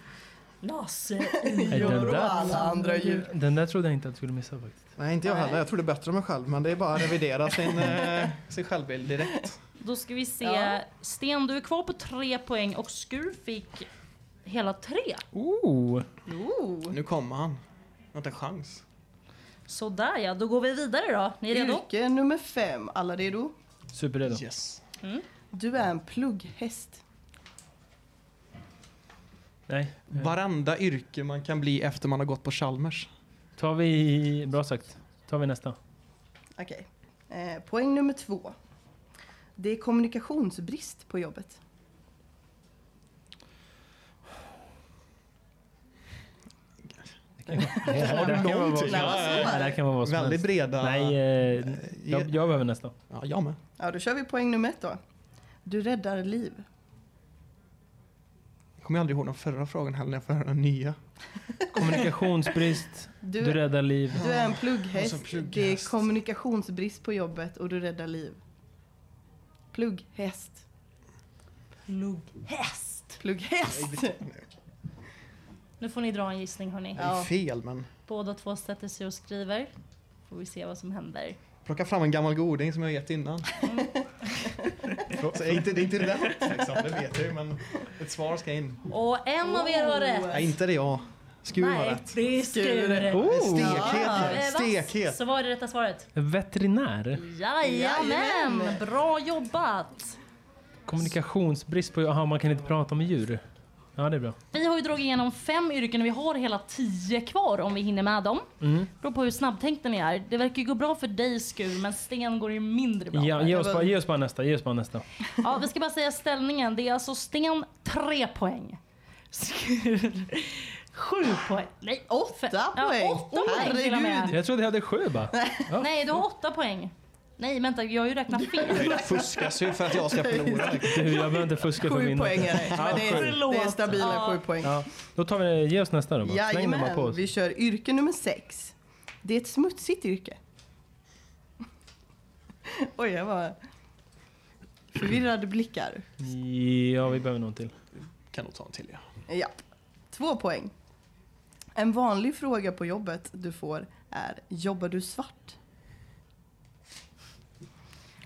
Speaker 2: Lasse,
Speaker 6: Nej, den,
Speaker 1: och
Speaker 6: där,
Speaker 1: alla andra djur.
Speaker 6: den där trodde jag inte att du skulle missa faktiskt.
Speaker 7: Nej, inte jag heller. Jag trodde bättre om mig själv. Men det är bara att revidera sin, eh, sin självbild direkt.
Speaker 2: Då ska vi se.
Speaker 1: Ja.
Speaker 2: Sten, du är kvar på tre poäng och Skur fick hela tre.
Speaker 6: Oh.
Speaker 1: Oh.
Speaker 7: Nu kommer han. Jag har inte en chans.
Speaker 2: Sådär ja, då går vi vidare då. Ni är redo?
Speaker 1: Yrke nummer fem. Alla redo?
Speaker 6: Superredo.
Speaker 7: Yes.
Speaker 1: Du är en plugghäst.
Speaker 6: Nej.
Speaker 7: Varenda yrke man kan bli efter man har gått på Chalmers.
Speaker 6: Tar vi... Bra sagt. Tar vi nästa.
Speaker 1: Okej. Eh, poäng nummer två. Det är kommunikationsbrist på jobbet.
Speaker 6: Det här kan vara vad som helst. Det här kan vara vad som
Speaker 7: Väldigt
Speaker 6: helst.
Speaker 7: breda.
Speaker 6: Nej, eh, jag, jag behöver nästa.
Speaker 7: Ja, jag med.
Speaker 1: Ja, då kör vi poäng nummer ett då. Du räddar liv.
Speaker 7: Jag kommer aldrig ihåg den förra frågan heller när jag får höra den nya.
Speaker 6: Kommunikationsbrist,
Speaker 1: Du,
Speaker 6: du
Speaker 1: du,
Speaker 6: räddar liv.
Speaker 1: är en plugghäst.
Speaker 7: Och så plugghäst.
Speaker 1: Det är kommunikationsbrist på jobbet och du räddar liv. Plugghäst.
Speaker 2: Plugghäst.
Speaker 1: Plugghäst!
Speaker 2: Nu får ni dra en gissning hörni.
Speaker 7: Det är fel, men
Speaker 2: Båda två sätter sig och skriver. Får vi se vad som händer.
Speaker 7: plocka fram en gammal goding som jag gett innan.
Speaker 2: Mm.
Speaker 7: Så det, är inte, det är inte rätt, liksom. det vet jag ju, men ett svar ska in.
Speaker 2: Och en av er har rätt.
Speaker 7: Nej, inte det jag. Skur var
Speaker 2: Nej,
Speaker 7: Oh. rätt.
Speaker 2: det är Skur.
Speaker 6: Oh,
Speaker 7: En stekhet.
Speaker 2: Eh,
Speaker 7: här.
Speaker 2: vass.
Speaker 7: stekhet.
Speaker 2: Så var det rätta svaret.
Speaker 6: Veterinär?
Speaker 2: Jajamän, bra jobbat.
Speaker 6: Kommunikationsbrist på... Jaha, man kan inte prata med djur. Ja, det är bra.
Speaker 2: Vi har ju ju dragit igenom fem yrken och vi har hela tio kvar om vi hinner med dem.
Speaker 6: Mm.
Speaker 2: Beror på hur snabbtänkta ni är. Det verkar ju gå bra för dig Skur, men Sten går ju mindre bra.
Speaker 6: Ja,
Speaker 2: för.
Speaker 6: ge, oss bara, ge oss bara nästa. Ge oss bara nästa.
Speaker 2: Ja, vi ska bara säga ställningen. Det är alltså Sten 3 poäng. Skur 7 poäng. Nej,
Speaker 1: Åtta
Speaker 2: fe- ja,
Speaker 1: poäng.
Speaker 2: åtta poäng till och med.
Speaker 6: Jag trodde jag hade sju bara.
Speaker 2: Nej, du har åtta poäng. Nej, vänta, jag har ju räknat fel.
Speaker 7: Det fuskas ju för att jag ska förlora.
Speaker 6: Du, jag behöver inte fuska för att
Speaker 1: Sju
Speaker 6: vinna.
Speaker 1: poäng är det. Men det är,
Speaker 2: Förlåt.
Speaker 1: det är stabila
Speaker 2: Ja.
Speaker 1: sju poäng.
Speaker 6: Ja, då tar vi, ge oss nästa då bara. Släng den bara på
Speaker 8: Jajamän,
Speaker 6: oss.
Speaker 8: vi kör yrke nummer sex. Det är ett smutsigt yrke.
Speaker 1: Oj, jag var
Speaker 8: Förvirrade blickar.
Speaker 6: Ja, vi behöver någon till.
Speaker 7: Kan nog ta en till ja.
Speaker 8: Ja. Två poäng. En vanlig fråga på jobbet du får är jobbar du svart?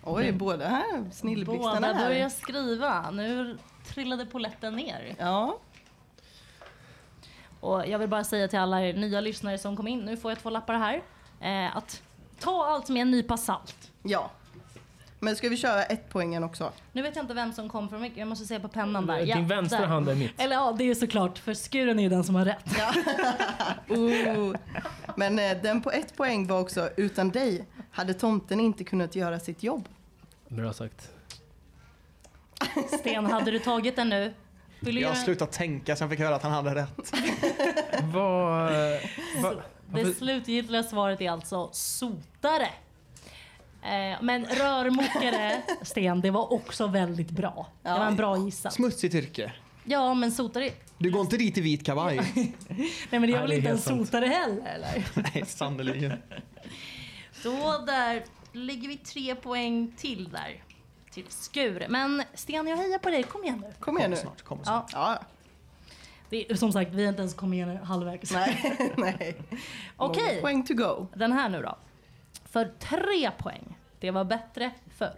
Speaker 8: Oj, båda här snilleblixtarna
Speaker 2: Båda börjar
Speaker 8: här.
Speaker 2: skriva. Nu trillade poletten ner.
Speaker 8: Ja,
Speaker 2: Och jag vill bara säga till alla er nya lyssnare som kom in, nu får jag två lappar här, eh, att ta allt med en nypa salt.
Speaker 8: ja. Men ska vi köra ett poängen också?
Speaker 2: Nu vet jag inte vem som kom från mycket, jag måste se på pennan där. Ja,
Speaker 6: Din vänstra
Speaker 2: där.
Speaker 6: hand är mitt.
Speaker 2: Eller ja, det är ju såklart, för skuren är ju den som har rätt.
Speaker 8: Oh. Men eh, den på ett poäng var också utan dig hade tomten inte kunnat göra sitt jobb.
Speaker 6: Bra sagt.
Speaker 2: Sten, hade du tagit den nu? Vill du
Speaker 7: Jag
Speaker 2: göra...
Speaker 7: har slutat tänka sen jag fick höra att han hade rätt.
Speaker 6: Vad... vad-
Speaker 2: Det slutgiltiga svaret är alltså sotare. Eh, men rörmokare, Sten, det var också väldigt bra. Det var en bra gissat.
Speaker 7: Smutsigt yrke.
Speaker 2: Ja, men sotare...
Speaker 7: Du går inte dit i vit kavaj?
Speaker 2: Nej, men det är
Speaker 6: Nej,
Speaker 2: väl inte
Speaker 6: det är
Speaker 2: en
Speaker 6: helt sant.
Speaker 2: sotare heller? Eller?
Speaker 7: Nej, sannerligen.
Speaker 2: Då där lägger vi tre poäng till där. Till skur. Men Sten, jag hejar på dig. Kom igen nu.
Speaker 8: Kom igen nu.
Speaker 7: Kommer snart, kommer snart.
Speaker 2: Ja,
Speaker 8: Ja,
Speaker 2: det är, som sagt, vi har inte ens kommit igen halvvägs.
Speaker 8: nej, nej.
Speaker 2: Okej,
Speaker 8: Poäng to go.
Speaker 2: den här nu då. För tre poäng. Det var bättre förr.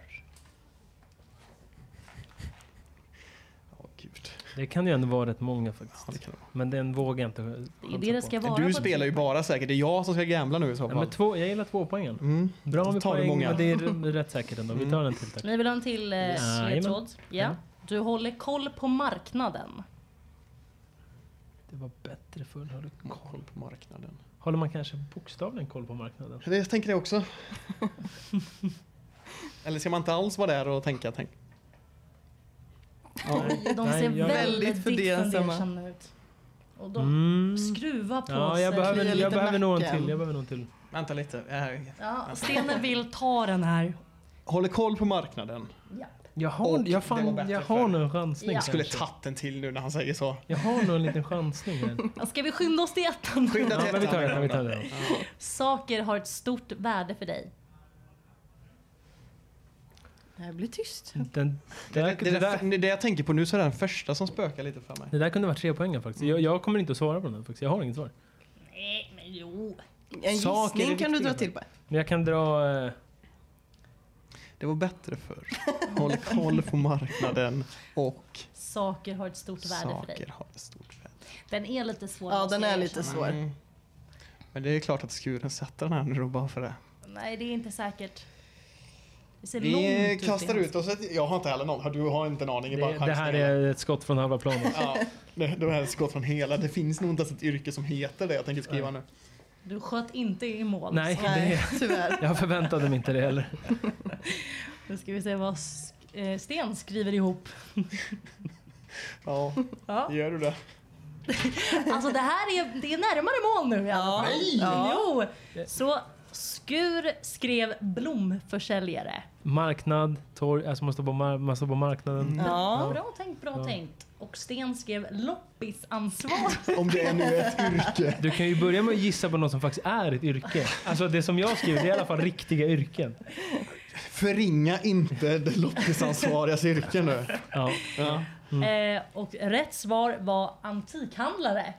Speaker 7: Åh gud.
Speaker 6: Det kan ju ändå vara rätt många faktiskt.
Speaker 7: Ja, det kan det vara. Men
Speaker 6: Men den vågar jag inte
Speaker 2: Det är det det ska vara. på typ-
Speaker 7: Du spelar ju
Speaker 2: tre.
Speaker 7: bara säkert. Det är jag som ska gambla nu i så
Speaker 6: Ja, men
Speaker 7: fall.
Speaker 6: två, jag gillar tvåpoängen.
Speaker 7: Mm.
Speaker 6: Bra
Speaker 7: Då
Speaker 6: med
Speaker 7: tar vi
Speaker 6: poäng,
Speaker 7: många.
Speaker 6: men det är r- rätt säkert ändå. Vi tar en till tack.
Speaker 2: Ni vill ha en till eh,
Speaker 6: Ja,
Speaker 2: ledtråd? Ja.
Speaker 6: jajamän.
Speaker 2: Du håller koll på marknaden.
Speaker 6: Det var bättre förr. Har du
Speaker 7: Koll på marknaden.
Speaker 6: Håller man kanske bokstavligen koll på marknaden?
Speaker 7: Det, jag tänker det också. Eller ska man inte alls vara där och tänka? Tänk. Ja.
Speaker 2: Oj, de
Speaker 6: Nej,
Speaker 2: ser
Speaker 6: jag-
Speaker 2: väldigt
Speaker 1: Väldigt fundersamma.
Speaker 2: fundersamma ut. Och de
Speaker 6: Mm.
Speaker 2: skruvar på
Speaker 6: Ja,
Speaker 2: sig.
Speaker 6: jag behöver,
Speaker 8: kliar
Speaker 6: jag
Speaker 8: lite
Speaker 6: behöver nog en
Speaker 8: nacken.
Speaker 6: till. Jag behöver nog en till.
Speaker 7: Vänta lite. Eh,
Speaker 2: Ja, Stenen vill ta den här.
Speaker 7: Håller koll på marknaden.
Speaker 6: Jag har,
Speaker 7: Och
Speaker 6: jag
Speaker 7: det var
Speaker 6: fan,
Speaker 7: bättre
Speaker 6: jag har
Speaker 7: förr.
Speaker 6: nog en chansning.
Speaker 2: Ja.
Speaker 7: Jag skulle
Speaker 6: kanske.
Speaker 7: tagit en till nu när han säger så.
Speaker 6: Jag har nog en liten chansning här.
Speaker 2: Ska vi skynda oss till ettan?
Speaker 7: Skynda
Speaker 6: Ja,
Speaker 7: till
Speaker 6: men vi tar
Speaker 7: ettan.
Speaker 6: den. Vi tar den.
Speaker 2: Saker har ett stort värde för dig.
Speaker 8: Det här blir tyst.
Speaker 6: Den, det,
Speaker 7: Det,
Speaker 6: där, det, där,
Speaker 7: det, det jag tänker på nu så är det den första som spökar lite för mig.
Speaker 6: det där kunde varit tre poängen faktiskt.
Speaker 7: Mm.
Speaker 6: Jag, jag kommer inte att svara på den här, faktiskt. Jag har inget svar.
Speaker 2: Nej, men jo.
Speaker 8: En
Speaker 6: Saker är
Speaker 8: gissning kan du
Speaker 6: viktiga.
Speaker 8: dra till på.
Speaker 6: Men jag kan dra... eh,
Speaker 7: Det var bättre förr. Håller koll på marknaden och
Speaker 2: Saker har ett stort värde för
Speaker 7: saker
Speaker 2: dig.
Speaker 7: har ett stort värde.
Speaker 2: Den är lite svår.
Speaker 8: Ja,
Speaker 2: måste
Speaker 8: den
Speaker 2: jag
Speaker 8: är
Speaker 2: erkänna.
Speaker 8: lite svår.
Speaker 7: Mm. Men det är klart att skuren sätter den här nu då bara för det.
Speaker 2: Nej, det är inte säkert. Det ser långt
Speaker 7: Vi
Speaker 2: ut typ i
Speaker 7: kastar
Speaker 2: hans-
Speaker 7: ut oss. ett- Jag har inte heller någon. Du har inte en aning.
Speaker 6: Det,
Speaker 7: Det, bara
Speaker 6: det här
Speaker 7: chansningar.
Speaker 6: är ett skott från halva planen.
Speaker 7: Ja, det, det här är ett skott från hela. Det finns nog inte ens ett yrke som heter det jag tänker skriva nu.
Speaker 2: Du sköt inte i mål.
Speaker 6: Nej,
Speaker 2: Så.
Speaker 6: det,
Speaker 8: Nej, tyvärr.
Speaker 6: jag förväntade mig inte det heller.
Speaker 2: Nu ska vi se vad sk- eh, Sten skriver ihop.
Speaker 7: Ja,
Speaker 2: Ja.
Speaker 7: gör du det?
Speaker 2: Alltså det här är, det är närmare mål nu i alla fall.
Speaker 8: Ja.
Speaker 2: Jo! Så Skur skrev blomförsäljare.
Speaker 6: Marknad, torg, alltså man står på, mar- man står på marknaden.
Speaker 8: Ja.
Speaker 2: Bra tänkt, bra
Speaker 6: Ja.
Speaker 2: tänkt. Och Sten skrev loppisansvar.
Speaker 7: Om det är nu ett yrke.
Speaker 6: Du kan ju börja med att gissa på något som faktiskt är ett yrke. Alltså det som jag skriver, det är i alla fall riktiga yrken.
Speaker 7: Förringa inte det loppisansvarigas yrke nu.
Speaker 6: Ja.
Speaker 7: Ja.
Speaker 6: Mm.
Speaker 2: Eh, och rätt svar var antikhandlare.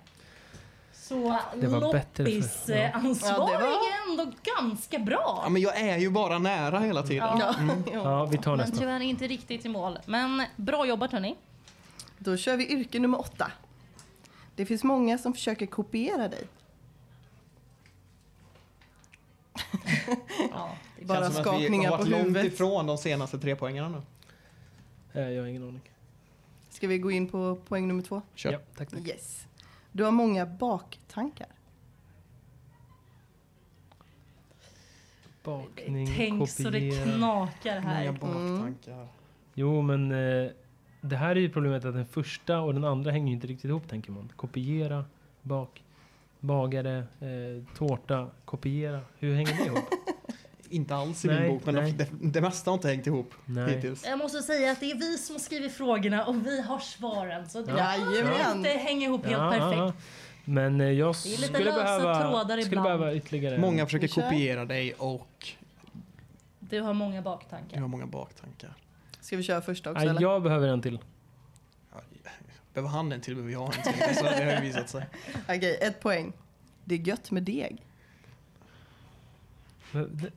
Speaker 2: Så
Speaker 6: Det var bättre för-
Speaker 2: loppisansvarig
Speaker 8: Ja, det var-
Speaker 2: är ändå ganska bra.
Speaker 7: Ja, men jag är ju bara nära hela tiden.
Speaker 2: Ja,
Speaker 6: ja, vi tar
Speaker 2: men
Speaker 6: nästa.
Speaker 2: tyvärr inte riktigt i mål. Men bra jobbat hörni.
Speaker 8: Då kör vi yrke nummer åtta. Det finns många som försöker kopiera dig.
Speaker 2: Ja, det är
Speaker 8: Bara
Speaker 7: Känns som att vi
Speaker 8: skakningar
Speaker 7: har varit
Speaker 8: på
Speaker 7: långt
Speaker 8: huvudet.
Speaker 7: ifrån de senaste tre poängarna nu.
Speaker 6: Eh, Jag har ingen aning.
Speaker 8: Ska vi gå in på poäng nummer två?
Speaker 7: Kör.
Speaker 2: Mm.
Speaker 6: Ja, tack, tack.
Speaker 8: Yes. Du har många baktankar.
Speaker 6: Bakning,
Speaker 2: Tänk så det
Speaker 6: kopiera.
Speaker 2: knakar
Speaker 7: Många
Speaker 2: här.
Speaker 7: baktankar.
Speaker 6: Jo, men eh, det här är ju problemet att den första och den andra hänger ju inte riktigt ihop, tänker man. Kopiera, bak, bagare, eh, tårta, kopiera. Hur hänger det ihop?
Speaker 7: Inte alls i
Speaker 6: Nej,
Speaker 7: min bok, men
Speaker 6: nej.
Speaker 7: Det, det mesta har inte hängt ihop
Speaker 6: Nej.
Speaker 7: hittills.
Speaker 2: Jag måste säga att det är vi som skriver frågorna och vi har svaren. Så det behöver inte hänga ihop helt
Speaker 6: Ja, ja, ja.
Speaker 2: perfekt.
Speaker 6: Men eh, jag
Speaker 2: Det är lite
Speaker 6: skulle
Speaker 2: lösa
Speaker 6: behöva,
Speaker 2: trådar
Speaker 6: skulle
Speaker 2: ibland.
Speaker 6: behöva ytterligare en.
Speaker 7: Många försöker
Speaker 8: Vi kör.
Speaker 7: kopiera dig och
Speaker 2: Du har många
Speaker 7: du
Speaker 2: baktankar.
Speaker 7: har många baktankar.
Speaker 8: Ska vi köra första också
Speaker 6: Nej,
Speaker 8: eller?
Speaker 6: jag behöver en till.
Speaker 7: Behöver han en till behöver jag en till. Så det har ju visat sig.
Speaker 8: Okej, ett poäng. Det är gött med deg.
Speaker 6: Men det-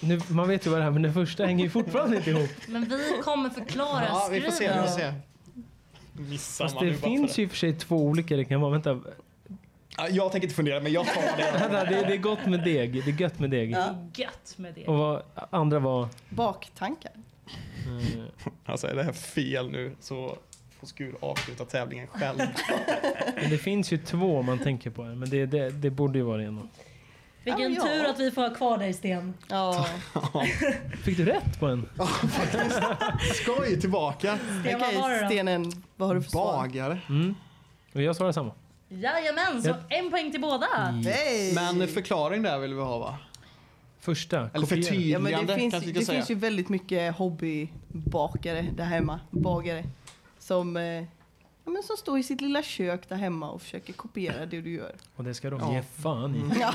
Speaker 6: Nu, man vet ju vad det är, men den första hänger ju fortfarande inte ihop.
Speaker 2: Men vi kommer förklara.
Speaker 7: Ja, vi får se. Vi får
Speaker 2: Skriv.
Speaker 7: se. Missar
Speaker 6: Fast
Speaker 7: man
Speaker 6: det
Speaker 7: nu bara
Speaker 6: finns
Speaker 7: för
Speaker 6: ju i och för sig två olika det kan vara. Vänta,
Speaker 7: det. Ja, Jag tänker inte fundera, men jag tar det.
Speaker 6: vänta det, det är gott med deg. Det är gött med deg.
Speaker 8: Ja.
Speaker 2: Gött med det.
Speaker 6: Och vad, andra var...
Speaker 8: Baktankar.
Speaker 6: Eh,
Speaker 7: Alltså är det här fel nu så får Skur avsluta tävlingen själv.
Speaker 6: Men det finns ju två man tänker på här, men det, det, det borde ju vara det ena.
Speaker 2: Vilken
Speaker 8: Ja, ja.
Speaker 2: tur att vi får ha kvar dig Sten.
Speaker 8: Ja.
Speaker 6: Fick du rätt på en?
Speaker 7: Skoj tillbaka!
Speaker 2: Sten, vad var det
Speaker 8: Okej,
Speaker 2: då?
Speaker 8: stenen. Vad har du för svar?
Speaker 7: Bagare.
Speaker 6: Mm. Och jag svarar samma.
Speaker 2: Jajamän, så en poäng till båda.
Speaker 8: Nej.
Speaker 7: Men förklaring där vill vi ha va?
Speaker 6: Första.
Speaker 8: Ja,
Speaker 6: kopiera.
Speaker 7: Eller
Speaker 8: men
Speaker 7: förtydligande
Speaker 8: det finns,
Speaker 7: kanske vi
Speaker 8: det
Speaker 7: ska säga.
Speaker 8: finns ju väldigt mycket hobbybakare där hemma, bagare, som, eh, ja, men som står i sitt lilla kök där hemma och försöker kopiera det du gör.
Speaker 6: Och det ska de
Speaker 7: Ja. Mm.
Speaker 6: ge fan i.
Speaker 7: Ja,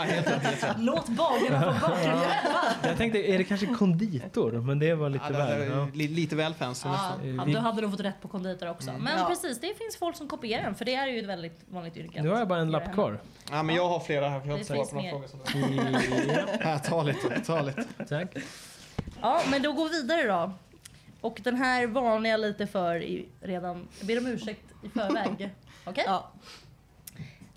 Speaker 7: helt rätt.
Speaker 2: Låt bagarna få baka hjälpa.
Speaker 6: Jag tänkte, är det kanske konditor? Men det var lite
Speaker 7: Ja, det-
Speaker 6: väl. Ja.
Speaker 7: li- Lite väl fancy
Speaker 2: Ja,
Speaker 7: nästan.
Speaker 2: ja, du hade nog fått rätt på konditor också.
Speaker 7: Mm.
Speaker 2: Men
Speaker 8: Ja.
Speaker 2: precis, det finns folk som kopierar den för det är ju ett väldigt vanligt yrke.
Speaker 6: Nu har jag bara en lapp kvar.
Speaker 7: Ja, men jag har flera här för jag har
Speaker 2: Det
Speaker 7: inte svarat
Speaker 2: finns
Speaker 7: på några
Speaker 2: mer.
Speaker 7: frågor. som-
Speaker 6: Ja,
Speaker 7: Ja, ta lite, ta lite.
Speaker 6: tack.
Speaker 2: Ja, men då går vi vidare då. Och den här varnar jag lite för i, redan. Jag ber om ursäkt i förväg. Okej?
Speaker 8: Ja.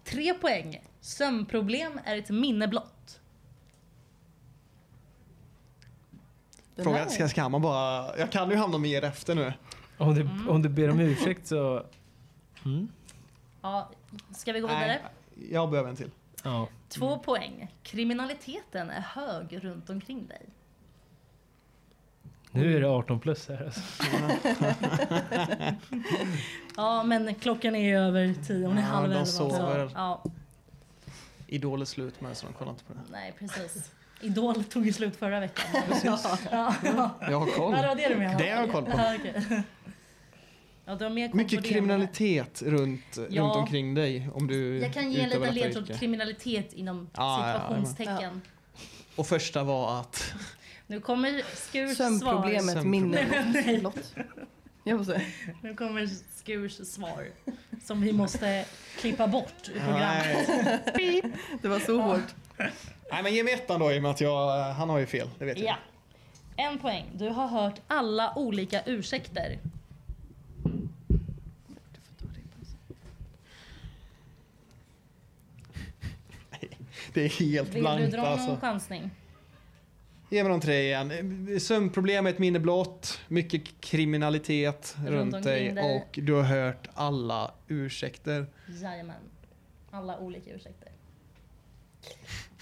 Speaker 2: Tre poäng. Sömnproblem är ett minne blott.
Speaker 8: Den
Speaker 7: Frågan
Speaker 8: här-
Speaker 7: ska, ska man bara... Jag kan ju hamna med er efter nu.
Speaker 6: Om du, om du ber om ursäkt så... Mm.
Speaker 2: Ja, ska vi gå vidare?
Speaker 7: jag behöver en till.
Speaker 6: Ja.
Speaker 2: Två poäng. Kriminaliteten är hög runt omkring dig.
Speaker 6: Nu är det 18 plus här. Alltså.
Speaker 2: Ja, men klockan är ju över tio. Hon är
Speaker 7: Ja,
Speaker 2: halv
Speaker 7: de
Speaker 2: elva.
Speaker 7: sover.
Speaker 2: Så, ja,
Speaker 7: Idol är slut med så de kollar inte på det.
Speaker 2: nej, precis. Idol tog ju slut förra veckan. Ja, ja.
Speaker 7: Jag har koll.
Speaker 2: Ja, det var det du menade?
Speaker 7: Det har jag koll på.
Speaker 2: Ja, okej. Ja, du har mer koll på
Speaker 7: Mycket
Speaker 2: det.
Speaker 7: kriminalitet runt,
Speaker 2: Ja.
Speaker 7: runt omkring dig om du
Speaker 2: Jag kan ge en
Speaker 7: utövar
Speaker 2: liten
Speaker 7: detta
Speaker 2: ledtråd.
Speaker 7: yrke.
Speaker 2: Kriminalitet inom
Speaker 7: Ja, ja, ja,
Speaker 2: situationstecken.
Speaker 7: Och första var att...
Speaker 2: Nu kommer Skurs svar.
Speaker 8: Sömnproblemet, minne.
Speaker 2: Nej, nej, nej.
Speaker 8: Förlåt. Jag måste,
Speaker 2: Nu kommer Skurs svar. Som vi måste klippa bort ur programmet.
Speaker 7: Nej.
Speaker 8: det var så hårt.
Speaker 7: Nej men ge mig ettan då i och med att jag, eh, han har ju fel. Det vet
Speaker 2: Ja. En poäng. Du har hört alla olika ursäkter.
Speaker 7: jag. Det är helt
Speaker 2: Vill du
Speaker 7: blankt
Speaker 2: dra någon
Speaker 7: alltså.
Speaker 2: chansning?
Speaker 7: Ge mig de tre igen. Sömnproblemet, minne blott, mycket kriminalitet
Speaker 2: Runt
Speaker 7: runt,
Speaker 2: omkring
Speaker 7: dig,
Speaker 2: dig.
Speaker 7: och du har hört alla ursäkter.
Speaker 2: Jajamän. Alla olika ursäkter.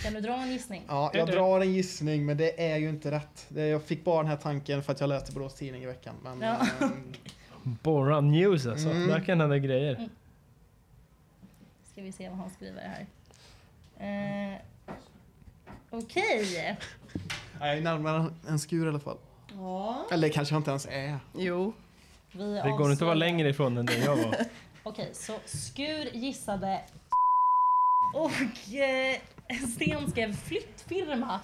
Speaker 2: Kan du dra en gissning?
Speaker 7: Ja, jag drar en gissning men det är ju inte rätt. Det- Jag fick bara den här tanken för att jag läste Borås Tidning i veckan. Men,
Speaker 2: Ja.
Speaker 7: ehm,
Speaker 6: Borra news alltså.
Speaker 7: Mm.
Speaker 6: Där kan hända grejer.
Speaker 2: Ska vi se vad han skriver här. Eh, Okej.
Speaker 7: jag är närmare en skur i alla fall.
Speaker 8: Ja.
Speaker 7: Eller kanske jag inte ens är.
Speaker 8: Jo,
Speaker 2: Vi
Speaker 6: Det går inte att vara
Speaker 2: avslöjar-
Speaker 6: längre ifrån än det jag var.
Speaker 2: Okej, så Skur gissade och eh, Sten skrev flyttfirma.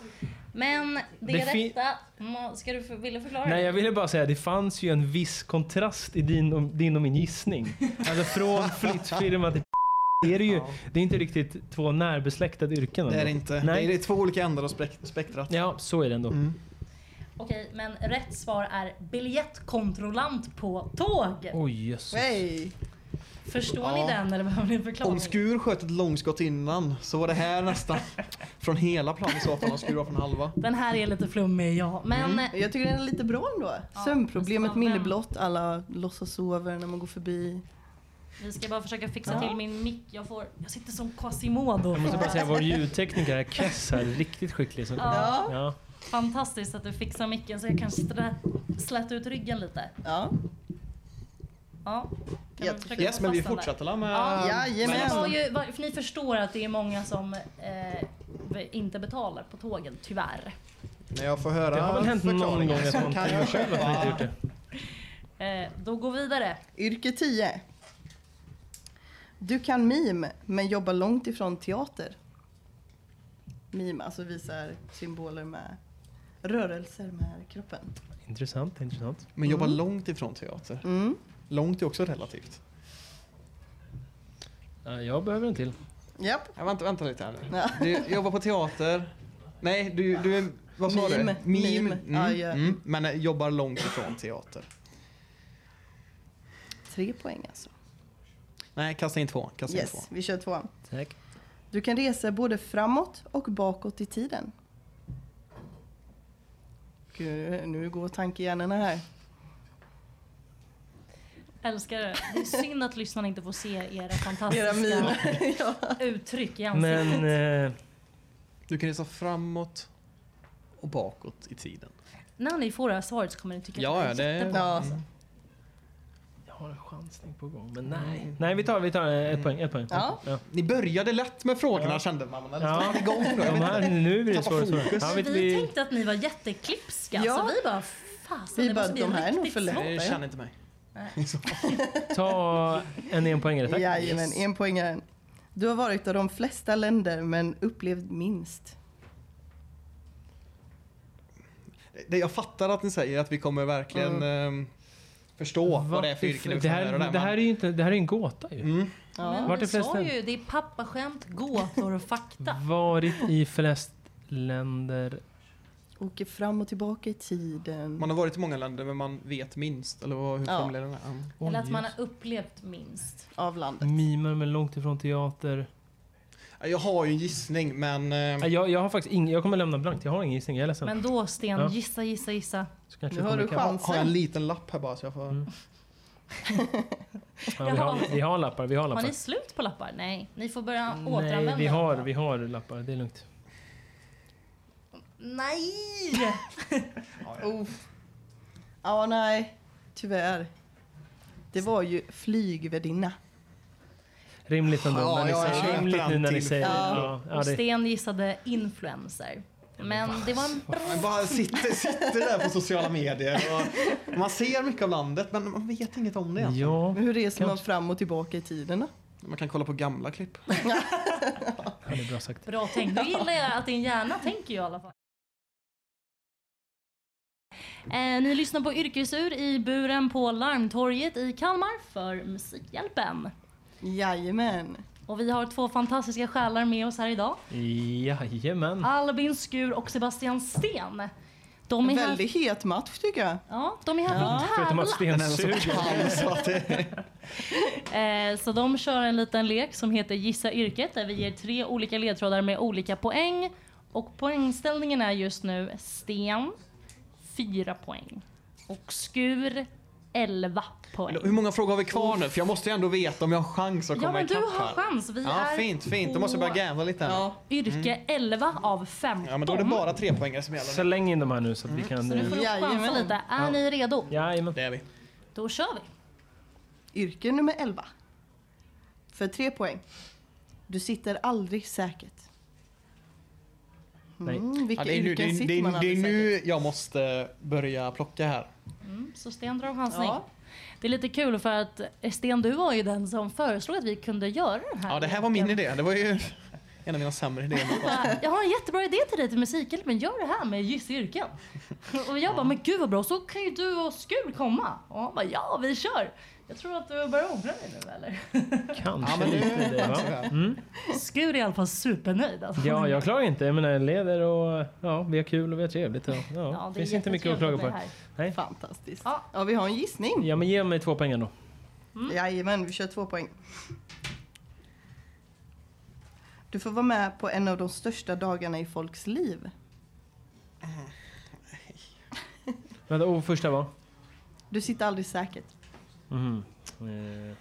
Speaker 2: Men det,
Speaker 6: Det fi-
Speaker 2: rätta... må- Ska du för, vill du förklara?
Speaker 6: Nej, jag ville bara säga det fanns ju en viss kontrast i din och, din och min gissning. Alltså från flyttfirma till det är det ju. Det är inte riktigt två närbesläktade yrken.
Speaker 7: Det är
Speaker 6: ändå.
Speaker 7: det inte.
Speaker 6: Nej.
Speaker 7: Det är två olika ändar av spek- spektrat.
Speaker 6: Ja, så är det
Speaker 7: Mm.
Speaker 6: ändå.
Speaker 2: Okej, men rätt svar är biljettkontrollant på tåg.
Speaker 6: Oj, jösses.
Speaker 8: hej.
Speaker 2: Förstår
Speaker 7: Ja.
Speaker 2: ni den eller behöver ni en förklaring?
Speaker 7: Om Skur sköt ett långskott innan så var det här nästan från hela plan i så fall. Om Skur var från halva.
Speaker 2: Den här är lite flummig, ja. Men
Speaker 6: Mm.
Speaker 8: Jag tycker den är lite bra ändå.
Speaker 2: Ja,
Speaker 8: Sömnproblemet,
Speaker 2: men-
Speaker 8: minne blott, alla låtsas sover när man går förbi.
Speaker 2: Vi ska bara försöka fixa till min mick. Jag, får, jag sitter som Quasimodo.
Speaker 6: Jag måste bara säga, vår ljudtekniker här, Kess, här, är riktigt skicklig. Så.
Speaker 2: Ja.
Speaker 6: Ja.
Speaker 2: Fantastiskt att du fixar micken så jag kan strä, släta ut ryggen lite.
Speaker 1: Ja.
Speaker 2: Ja. Kan
Speaker 1: Ja.
Speaker 2: du försöka
Speaker 7: Yes,
Speaker 2: få
Speaker 7: men vi
Speaker 2: fast den där?
Speaker 7: fortsätter la med...
Speaker 2: Ja. Men jag
Speaker 1: Jajamän.
Speaker 2: sa ju, var- för ni förstår att det är många som eh, be- inte betalar på tågen, tyvärr.
Speaker 7: När jag får höra
Speaker 6: Det har väl hänt någon
Speaker 7: förklaringen
Speaker 6: gång att
Speaker 7: så
Speaker 6: man
Speaker 7: kan
Speaker 6: tänker
Speaker 7: jag
Speaker 6: själv att man inte gjort det.
Speaker 2: Eh, då går vi vidare.
Speaker 1: Yrke 10. Du kan mim, men jobbar långt ifrån teater. Mim, alltså visar symboler med rörelser med kroppen.
Speaker 6: Intressant, intressant.
Speaker 7: Men jobba långt ifrån teater.
Speaker 1: Mm.
Speaker 7: Långt är också relativt.
Speaker 6: Ja, Jag behöver en till.
Speaker 1: Japp.
Speaker 7: Ja, vänta, vänta lite här nu.
Speaker 1: Ja.
Speaker 7: Du jobbar på teater. Nej, du, du är... Vad sa
Speaker 1: Mim.
Speaker 7: du? Mim.
Speaker 1: Mim. Ja,
Speaker 7: Mm.
Speaker 1: ja.
Speaker 7: Mm. Men eh, jobbar långt ifrån teater.
Speaker 1: Tre poäng alltså.
Speaker 7: Nej, kasta in två. Kasta in två.
Speaker 1: Yes, vi kör tvåan.
Speaker 6: Tack.
Speaker 1: Du kan resa både framåt och bakåt i tiden. Gud, nu går tankehjärnorna här.
Speaker 2: Älskar det. Det är synd att lyssnarna inte får se era
Speaker 1: Era
Speaker 2: fantastiska
Speaker 1: miner. ja.
Speaker 2: uttryck i ansiktet.
Speaker 6: Men eh,
Speaker 7: Du kan resa framåt och bakåt i tiden.
Speaker 2: När ni får det här svaret så kommer ni tycka
Speaker 7: Ja, ja,
Speaker 2: att det
Speaker 7: det
Speaker 2: är
Speaker 7: är-
Speaker 2: jättebra.
Speaker 1: Ja, så.
Speaker 6: jag har en chansning på gång, men nej. Nej, vi tar, vi tar eh, ett poäng. Ett poäng.
Speaker 1: Ja.
Speaker 6: Ja.
Speaker 7: Ni började lätt med frågorna kände man. Men
Speaker 6: Ja.
Speaker 7: ja. igång då. Jag
Speaker 6: De
Speaker 7: vet
Speaker 6: här,
Speaker 7: inte.
Speaker 6: nu blir det
Speaker 7: Tappa
Speaker 6: svårare och svårare.
Speaker 7: fokus.
Speaker 6: Ja,
Speaker 2: Vi,
Speaker 6: vi, vi,
Speaker 2: tänkte att ni var jätteklipska
Speaker 1: Ja.
Speaker 2: så vi bara fasen
Speaker 1: Vi
Speaker 2: det
Speaker 1: bara,
Speaker 2: måste bli
Speaker 1: de här är nog
Speaker 2: riktigt
Speaker 1: för lätta.
Speaker 2: svårt.
Speaker 7: Nej, känner inte mig.
Speaker 6: ta en enpoängare, tack.
Speaker 1: Jajamän, en poängaren. Du har varit av de flesta länder men upplevt minst.
Speaker 7: Det, jag fattar att ni säger att vi kommer verkligen ehm, förstå vad, det är för yrken vi
Speaker 6: Mm. det,
Speaker 7: får
Speaker 6: här,
Speaker 7: göra där,
Speaker 6: det här är
Speaker 7: men-
Speaker 6: ju inte, det här är ju en gåta ju.
Speaker 7: Mm.
Speaker 1: Ja.
Speaker 2: Men
Speaker 6: Vart
Speaker 2: vi
Speaker 6: är flest
Speaker 2: sa
Speaker 6: länder?
Speaker 2: ju det är pappaskämt, gåtor och fakta.
Speaker 6: Varit i flest länder.
Speaker 1: Åker fram och tillbaka i tiden.
Speaker 7: Man har varit i många länder men man vet minst. Eller vad, hur
Speaker 1: Ja.
Speaker 7: formulerar den är? Mm.
Speaker 2: Eller att
Speaker 6: Oj,
Speaker 2: man har upplevt minst.
Speaker 1: Av landet.
Speaker 6: Mimar men långt ifrån teater.
Speaker 7: Jag har ju en gissning men... ehm,
Speaker 6: Nej, Jag, jag har faktiskt ing, jag kommer lämna blankt. Jag har ingen gissning. Jag är ledsen.
Speaker 2: Men då Sten,
Speaker 6: Ja.
Speaker 2: gissa, gissa, gissa.
Speaker 6: Så kanske
Speaker 1: Nu
Speaker 6: jag
Speaker 1: har
Speaker 6: kommer
Speaker 1: du
Speaker 6: ikapp.
Speaker 7: har, har jag en
Speaker 1: chansen.
Speaker 7: liten lapp här bara så jag får...
Speaker 6: Mm. Ja, vi, har, vi har lappar. Vi har
Speaker 2: Har
Speaker 6: lappar.
Speaker 2: ni slut på lappar? Nej, ni får börja återanvända.
Speaker 6: Nej, vi har,
Speaker 2: dem.
Speaker 6: vi har lappar. Det är lugnt.
Speaker 2: Nej!
Speaker 1: Oh. Ja, nej. Tyvärr. Det var ju flygvärdinna.
Speaker 6: Rimligt ändå.
Speaker 7: Ja,
Speaker 6: när ni
Speaker 7: jag
Speaker 6: säger-
Speaker 7: köper
Speaker 6: rimligt nu när ni
Speaker 7: till.
Speaker 6: säger
Speaker 1: Ja.
Speaker 6: ja. Ja,
Speaker 2: Och
Speaker 6: det.
Speaker 2: Sten gissade influencer. Men det var en bra...
Speaker 7: Man bara sitter, sitter där på sociala medier och man ser mycket av landet men man vet inget om det egentligen.
Speaker 6: Ja,
Speaker 1: Men hur reser man
Speaker 6: Kanske.
Speaker 1: fram och tillbaka i tiden då?
Speaker 7: Man kan kolla på gamla klipp.
Speaker 6: det är bra sagt.
Speaker 2: Bra tänkt. Nu gillar jag att din hjärna tänker ju i alla fall. Eh, ni lyssnar på Yrkesur i buren på Larmtorget i Kalmar för Musikhjälpen.
Speaker 1: Jajamän.
Speaker 2: Och vi har två fantastiska själar med oss här idag.
Speaker 6: Jajamän.
Speaker 2: Albin Skur och Sebastian Sten. De är här,
Speaker 1: Väldigt het match tycker jag.
Speaker 2: ja, de är här för att
Speaker 6: Förutom att
Speaker 2: tävla.
Speaker 6: Sten suger.
Speaker 2: Eh, så de kör en liten lek som heter Gissa yrket där vi ger tre olika ledtrådar med olika poäng. Och poängställningen är just nu Sten, fyra poäng. Och Skur, elva poäng.
Speaker 7: Hur många frågor har vi kvar nu? För jag måste ju ändå veta om jag har chans att
Speaker 2: Ja
Speaker 7: komma
Speaker 2: men du
Speaker 7: ikapp
Speaker 2: har
Speaker 7: här.
Speaker 2: chans. Vi
Speaker 7: Ja,
Speaker 2: är
Speaker 7: fint, fint. Då
Speaker 2: på
Speaker 7: måste jag börja gambla lite. här.
Speaker 2: yrke 11 av 15.
Speaker 7: Ja, men då är det bara tre poäng som gäller.
Speaker 6: Släng in de här nu så att vi kan...
Speaker 2: Så nu får du chansa
Speaker 1: Jajamän.
Speaker 2: lite. Är ni redo?
Speaker 6: Jajamän.
Speaker 7: Det är vi.
Speaker 2: Då kör vi.
Speaker 1: Yrke nummer 11. För tre poäng. Du sitter aldrig säkert.
Speaker 6: Nej.
Speaker 1: Mm, vilka
Speaker 7: Ja, det, är nu, det,
Speaker 1: yrken
Speaker 7: är,
Speaker 1: sitter
Speaker 7: det,
Speaker 1: man
Speaker 7: är, det är
Speaker 1: aldrig säkert?
Speaker 7: nu jag måste eh, börja plocka här.
Speaker 2: Mm, Så Sten drar chansning.
Speaker 1: Ja.
Speaker 2: Det är lite kul för att eh, Sten, du var ju den som föreslog att vi kunde göra den här.
Speaker 7: Ja, det här var min
Speaker 2: leken.
Speaker 7: idé. Det var ju en av mina sämre idéer.
Speaker 2: Bara, Jag har en jättebra idé till dig till Musikhjälpen, gör det här med Gissa yrken. Och jag bara, men gud vad bra, så kan ju du och Skur komma. Och han bara, ja vi kör. Jag tror att du börjar ångra dig nu eller?
Speaker 6: Kanske
Speaker 7: Ja, men det
Speaker 6: lite det, va?
Speaker 7: är
Speaker 2: Skur är i alla fall supernöjd. Alltså.
Speaker 6: Ja, jag klagar inte. Jag menar, jag leder och ja, vi har kul och vi har trevligt. Och, ja,
Speaker 2: Ja,
Speaker 6: det finns inte mycket att klaga
Speaker 2: jättetrevligt med
Speaker 6: på.
Speaker 2: det här.
Speaker 1: Fantastiskt.
Speaker 2: Ja.
Speaker 1: Ja. vi har en gissning.
Speaker 6: Ja, men ge mig två poäng ändå.
Speaker 2: Mm.
Speaker 1: Jajamän, vi kör två poäng. Du får vara med på en av de största dagarna i folks liv.
Speaker 6: Vänta, och första var?
Speaker 1: Du sitter aldrig säkert.
Speaker 6: Mhm. Eh,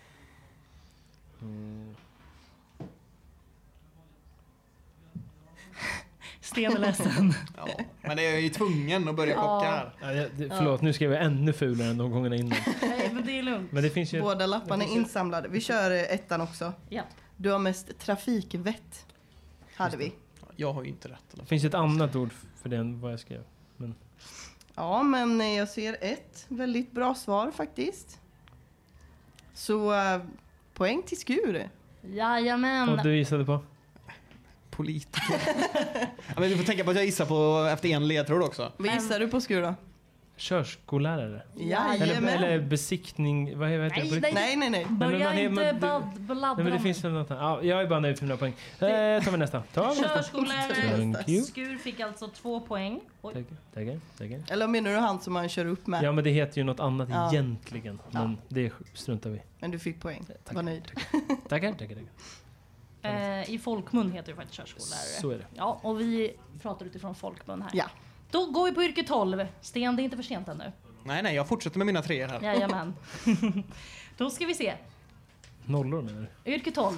Speaker 2: Sten är ledsen.
Speaker 7: Ja. Men jag är ju tvungen att börja
Speaker 2: Ja.
Speaker 7: kocka här.
Speaker 6: Ja, jag- det- förlåt, nu skrev jag ännu fulare än de gångerna innan.
Speaker 4: Nej, men det är lugnt.
Speaker 6: Men det finns ju...
Speaker 8: Båda lapparna är insamlade. Vi kör eh, ettan också.
Speaker 2: Ja.
Speaker 8: Du har mest trafikvett. Hade vi.
Speaker 7: Jag har ju inte rätt.
Speaker 6: Det finns ett annat ord för det än vad jag skrev.
Speaker 8: Ja, men eh, jag ser ett väldigt bra svar faktiskt. Så eh, poäng till Skur.
Speaker 6: Och
Speaker 2: Jajamän.
Speaker 6: du gissade på?
Speaker 7: Politiker. ja, men du får tänka på att jag gissar på efter en ledtråd också.
Speaker 8: Vad gissar du på Skur då?
Speaker 6: Körskollärare? Eller,
Speaker 8: Jajamän.
Speaker 6: eller besiktning... Vad heter det? på
Speaker 2: Nej,
Speaker 6: riktigt?
Speaker 8: Nej,
Speaker 2: nej,
Speaker 8: nej, nej.
Speaker 6: men
Speaker 2: Börja
Speaker 6: man är-
Speaker 2: inte
Speaker 6: men du-
Speaker 2: bad- bladdra
Speaker 6: Nej men det
Speaker 2: om-
Speaker 6: finns väl något annat. Ja, jag är bara nöjd för mina poäng. Eh, tar vi nästa. Ta vi nästa.
Speaker 2: Körskollärare
Speaker 6: Thank you.
Speaker 2: Skur fick alltså två poäng. Oj.
Speaker 6: Tackar, tackar, tackar.
Speaker 8: Eller menar du han som han kör upp med?
Speaker 6: Ja men det heter ju något annat
Speaker 8: Ja.
Speaker 6: egentligen. Men det struntar vi i.
Speaker 8: Men du fick poäng. Var nöjd.
Speaker 6: Tackar, tackar, tackar.
Speaker 2: Eh, I folkmun heter det faktiskt körskollärare.
Speaker 6: Så är det.
Speaker 2: Ja, och vi pratar utifrån folkmun här.
Speaker 8: Ja.
Speaker 2: Då går vi på yrke 12. Sten, det är inte för sent ännu.
Speaker 7: Nej, nej, jag fortsätter med mina treor här.
Speaker 2: Jajamän. Då ska vi se.
Speaker 6: Nollor menar du?
Speaker 2: Yrke 12.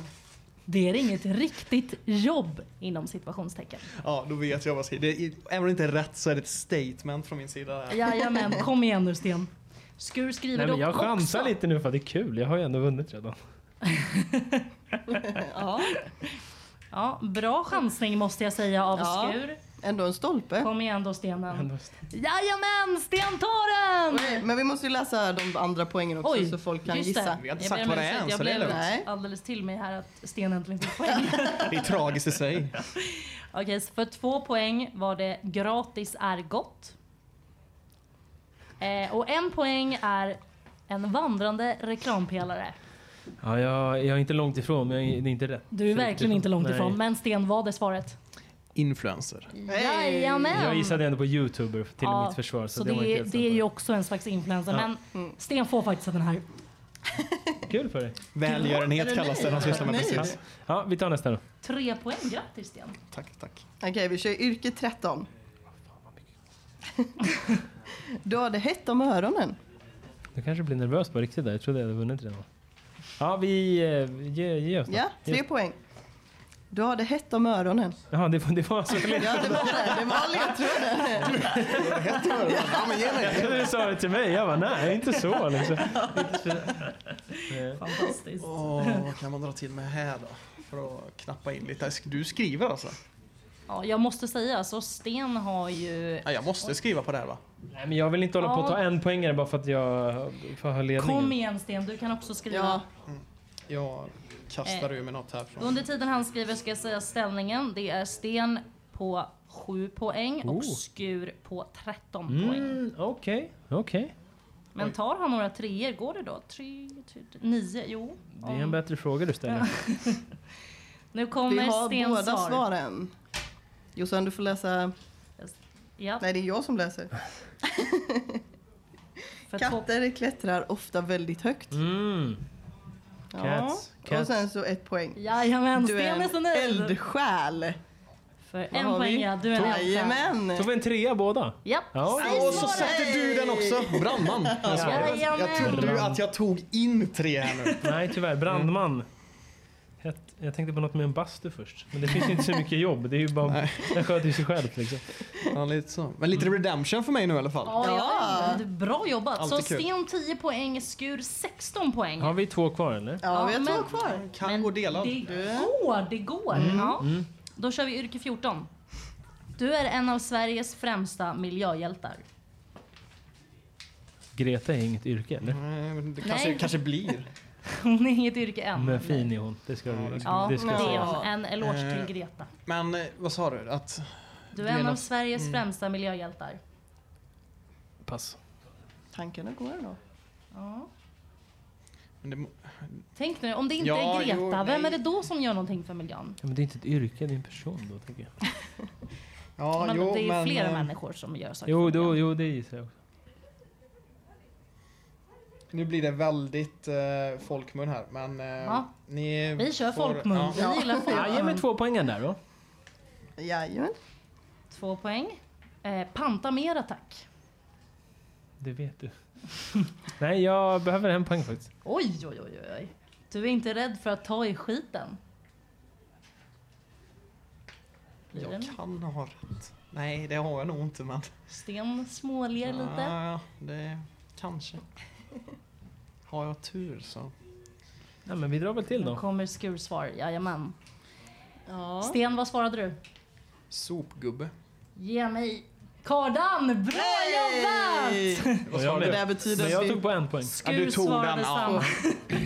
Speaker 2: Det är inget riktigt jobb inom situationstecken.
Speaker 7: Ja, då vet jag vad jag ska... Det är, även om det inte är rätt så är det ett statement från min sida. Här.
Speaker 2: Jajamän, kom igen nu Sten. Skur skriver
Speaker 6: Nej men
Speaker 2: dock
Speaker 6: jag chansar
Speaker 2: också.
Speaker 6: lite nu för att det är kul. Jag har ju ändå vunnit redan.
Speaker 2: Ja. Ja, bra chansning måste jag säga av
Speaker 8: Ja.
Speaker 2: Skur.
Speaker 8: Ändå en stolpe.
Speaker 2: Kom igen då stenen.
Speaker 6: Ändå-
Speaker 2: Jajamän, Sten tar den!
Speaker 8: Men vi måste ju läsa de andra poängen också
Speaker 2: Oj,
Speaker 8: så folk kan
Speaker 2: just
Speaker 8: gissa.
Speaker 2: det.
Speaker 7: Vi har inte
Speaker 2: Jag
Speaker 7: sagt
Speaker 2: ber om
Speaker 7: vad det är
Speaker 2: ursäkt,
Speaker 7: än,
Speaker 2: Jag
Speaker 7: så det är
Speaker 2: blev
Speaker 7: lugnt.
Speaker 8: Nej.
Speaker 2: alldeles till mig här att Sten äntligen fick poäng.
Speaker 7: Det är tragiskt i sig.
Speaker 2: Okej, så för två poäng var det gratis är gott. Eh, och en poäng är en vandrande reklampelare.
Speaker 6: Ja, jag, jag är inte långt ifrån men jag är, det är inte rätt.
Speaker 2: Du är verkligen inte långt
Speaker 6: Nej.
Speaker 2: ifrån, men Sten, vad är svaret?
Speaker 7: Influencer.
Speaker 2: Jajamän!
Speaker 6: Jag gissade ändå på youtuber till
Speaker 2: Ja,
Speaker 6: mitt försvar. Så,
Speaker 2: Så
Speaker 6: det, var
Speaker 2: det,
Speaker 6: inte
Speaker 2: är,
Speaker 6: helt
Speaker 2: det är
Speaker 6: sant.
Speaker 2: ju också en slags influencer,
Speaker 6: Ja.
Speaker 2: men Sten får faktiskt den här.
Speaker 6: Kul för dig.
Speaker 7: Välgörenhet kallas det de sysslar med
Speaker 8: Nej.
Speaker 7: precis.
Speaker 6: Ja, vi tar nästa då.
Speaker 2: Tre poäng, grattis Sten!
Speaker 7: Tack, tack.
Speaker 8: Okej, vi kör yrke 13. du har det hett om öronen.
Speaker 6: Du kanske blir nervös på riktigt där. Jag trodde jag hade vunnit redan. Ja, vi... eh, Ge, ge oss då.
Speaker 8: Ja, tre poäng. Du har det hett om öronen.
Speaker 6: Jaha, det, var- det var så
Speaker 8: Ja, det var det. Det var ledtråden.
Speaker 7: Ja, men ge mig.
Speaker 6: Jag trodde du sa det till mig. Jag bara, nej, inte så. Liksom.
Speaker 2: Fantastiskt!
Speaker 7: Mm. Åh, vad kan man dra till med här då? För att knappa in lite. Du skriver alltså?
Speaker 2: Ja, jag måste säga, så Sten har ju
Speaker 7: Ja, jag måste skriva på det här va?
Speaker 6: Nej, men jag vill inte hålla på att ta en poängare bara för att jag får ha ledningen.
Speaker 2: Kom igen Sten, du kan också skriva.
Speaker 8: Ja.
Speaker 7: Jag kastar ur mig något härifrån.
Speaker 2: Under tiden han skriver ska jag säga ställningen. Det är Sten på 7 poäng
Speaker 6: Oh.
Speaker 2: och Skur på 13 poäng.
Speaker 6: Mm, Okej, okej.
Speaker 2: Men tar han några treor, går det då? Tre, tre, tre, nio? Jo.
Speaker 6: Det är en
Speaker 2: Om-
Speaker 6: bättre fråga du ställer.
Speaker 2: Nu
Speaker 8: Vi
Speaker 2: kommer
Speaker 8: har
Speaker 2: Stens
Speaker 8: båda
Speaker 2: svar.
Speaker 8: svaren. Jossan, du får läsa.
Speaker 2: Ja,
Speaker 8: Nej, det är jag som läser.
Speaker 2: för två...
Speaker 8: Katter klättrar ofta väldigt högt.
Speaker 6: Mm. Cats,
Speaker 8: Och
Speaker 6: cats.
Speaker 8: sen så ett poäng.
Speaker 2: Jajamän,
Speaker 8: Du
Speaker 2: Sten är
Speaker 8: är
Speaker 2: så
Speaker 8: en
Speaker 2: nöjd.
Speaker 8: eldsjäl.
Speaker 2: För
Speaker 8: Vad
Speaker 2: en
Speaker 8: har
Speaker 2: poäng
Speaker 8: vi?
Speaker 2: ja, du är en eldsjäl.
Speaker 8: Jajamän.
Speaker 6: Tog vi en trea båda?
Speaker 2: Japp.
Speaker 6: Ja.
Speaker 2: Säg
Speaker 7: Och så
Speaker 2: svaret.
Speaker 7: satte du den också! Brandman! Jag
Speaker 2: Jajamän.
Speaker 7: trodde ju att jag tog in tre här nu.
Speaker 6: Nej, tyvärr. Brandman. Het- Jag tänkte på något med en bastu först. Men det finns inte så mycket jobb. Det är ju bara... Den sköter ju sig själv liksom.
Speaker 7: Ja, lite så. Men lite redemption för mig nu i alla fall.
Speaker 2: Ja,
Speaker 8: Ja.
Speaker 2: ja. det är Bra jobbat! Så
Speaker 7: Alltid kul.
Speaker 2: Sten 10 poäng, Skur 16 poäng.
Speaker 6: Har vi två kvar eller?
Speaker 8: Ja, vi har
Speaker 2: men-
Speaker 8: två kvar.
Speaker 7: Kan gå delad.
Speaker 2: Det går, det går.
Speaker 6: Mm.
Speaker 2: Ja. Då kör vi yrke 14. Du är en av Sveriges främsta miljöhjältar.
Speaker 6: Greta är inget yrke eller?
Speaker 7: Nej, men Det kanske,
Speaker 2: Nej.
Speaker 7: kanske blir.
Speaker 2: Hon är inget yrke än.
Speaker 6: Men fin är hon. Det ska, du-
Speaker 2: Mm. Ja,
Speaker 6: det ska
Speaker 2: det
Speaker 6: jag
Speaker 2: är
Speaker 6: säga.
Speaker 2: hon. En eloge
Speaker 7: Eh.
Speaker 2: till Greta.
Speaker 7: Men eh, vad sa du? Att...
Speaker 2: Du är en av Sveriges
Speaker 7: Mm.
Speaker 2: främsta miljöhjältar.
Speaker 6: Pass.
Speaker 8: Tankarna går då.
Speaker 2: Ja.
Speaker 7: Men det, må-
Speaker 2: Tänk nu, om det inte
Speaker 7: Ja,
Speaker 2: är Greta,
Speaker 7: jo,
Speaker 2: vem är
Speaker 7: nej.
Speaker 2: det då som gör någonting för miljön?
Speaker 6: Ja, men det är inte ett yrke, det är en person då tänker jag.
Speaker 7: ja,
Speaker 2: men
Speaker 7: jo,
Speaker 2: det är ju
Speaker 7: men,
Speaker 2: flera
Speaker 7: eh,
Speaker 2: människor som gör saker
Speaker 6: Jo,
Speaker 2: för
Speaker 6: då,
Speaker 2: miljön.
Speaker 6: jo det gissar jag också.
Speaker 7: Nu blir det väldigt eh, folkmun här, men... eh,
Speaker 2: Ja.
Speaker 7: ni
Speaker 2: Vi kör
Speaker 7: får-
Speaker 2: folkmun.
Speaker 7: Ja.
Speaker 2: Vi gillar folk.
Speaker 6: Ja, ge mig två poängen där då.
Speaker 8: Jajamän.
Speaker 2: Två poäng. Eh, panta mer attack.
Speaker 6: Det vet du. Nej, jag behöver en poäng faktiskt.
Speaker 2: Oj, oj, oj, oj. Du är inte rädd för att ta i skiten. tiden.
Speaker 7: Jag kan ha rätt. Nej, det har jag nog inte men...
Speaker 2: Sten småler lite.
Speaker 7: Ja, det kanske. Har jag tur så.
Speaker 6: Nej, men vi drar väl till
Speaker 2: Nu
Speaker 6: då.
Speaker 2: kommer skursvar, jajamän.
Speaker 8: Ja.
Speaker 2: Sten, vad svarade du?
Speaker 7: Sopgubbe.
Speaker 2: Ge mig kardan! Bra jobbat!
Speaker 7: Vad
Speaker 6: jag
Speaker 7: sa
Speaker 1: Det
Speaker 7: du?
Speaker 1: där betyder
Speaker 6: Men
Speaker 1: att
Speaker 6: jag
Speaker 1: vi-
Speaker 6: tog på en poäng.
Speaker 7: Ja,
Speaker 2: Skur
Speaker 7: du tog
Speaker 2: svarade
Speaker 7: den,
Speaker 2: samma.
Speaker 7: ja.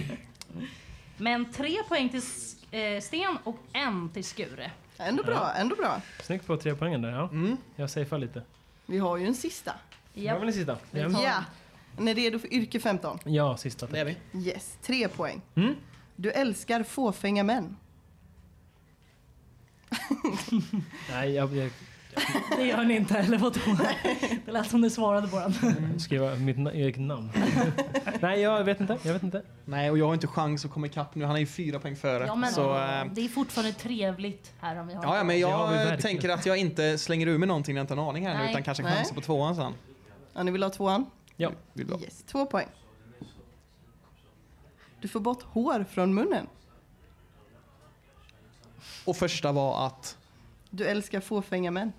Speaker 2: Men tre poäng till S- eh, Sten och en till Skure.
Speaker 8: Ändå bra, ändå bra.
Speaker 6: Snyggt på tre poängen där. Ja.
Speaker 7: Mm.
Speaker 6: Jag safear lite.
Speaker 8: Vi har ju en sista.
Speaker 6: Vad
Speaker 2: Japp.
Speaker 6: vill ni sista?
Speaker 2: Vi tar-
Speaker 8: Ja. Är ni redo för yrke 15?
Speaker 6: Ja, sista.
Speaker 7: Det är vi.
Speaker 8: Yes, tre poäng.
Speaker 6: Mm.
Speaker 8: Du älskar fåfänga män.
Speaker 6: Nej, jag, jag
Speaker 2: Det gör ni inte, eller vadå? Det lät som ni svarade på den.
Speaker 6: skriver mitt na- eget namn. Nej, jag vet inte. Jag vet inte.
Speaker 7: Nej, och jag har inte chans att komma ikapp nu. Han är ju fyra poäng före.
Speaker 2: Ja, men,
Speaker 7: så, eh,
Speaker 2: det är fortfarande trevligt här om vi har.
Speaker 7: ja, ja, men
Speaker 6: Det har vi
Speaker 7: jag
Speaker 6: verkligen.
Speaker 7: tänker att jag inte slänger ur mig någonting jag inte har en aning här nu,
Speaker 2: Nej.
Speaker 7: utan kanske
Speaker 8: Nej.
Speaker 7: chansar på tvåan sen.
Speaker 8: Ja, ni vill ha tvåan?
Speaker 6: Ja.
Speaker 7: Vill du ha?
Speaker 8: Yes, två poäng. Du får bort hår från munnen.
Speaker 7: Och första var att...
Speaker 8: Du älskar fåfänga män.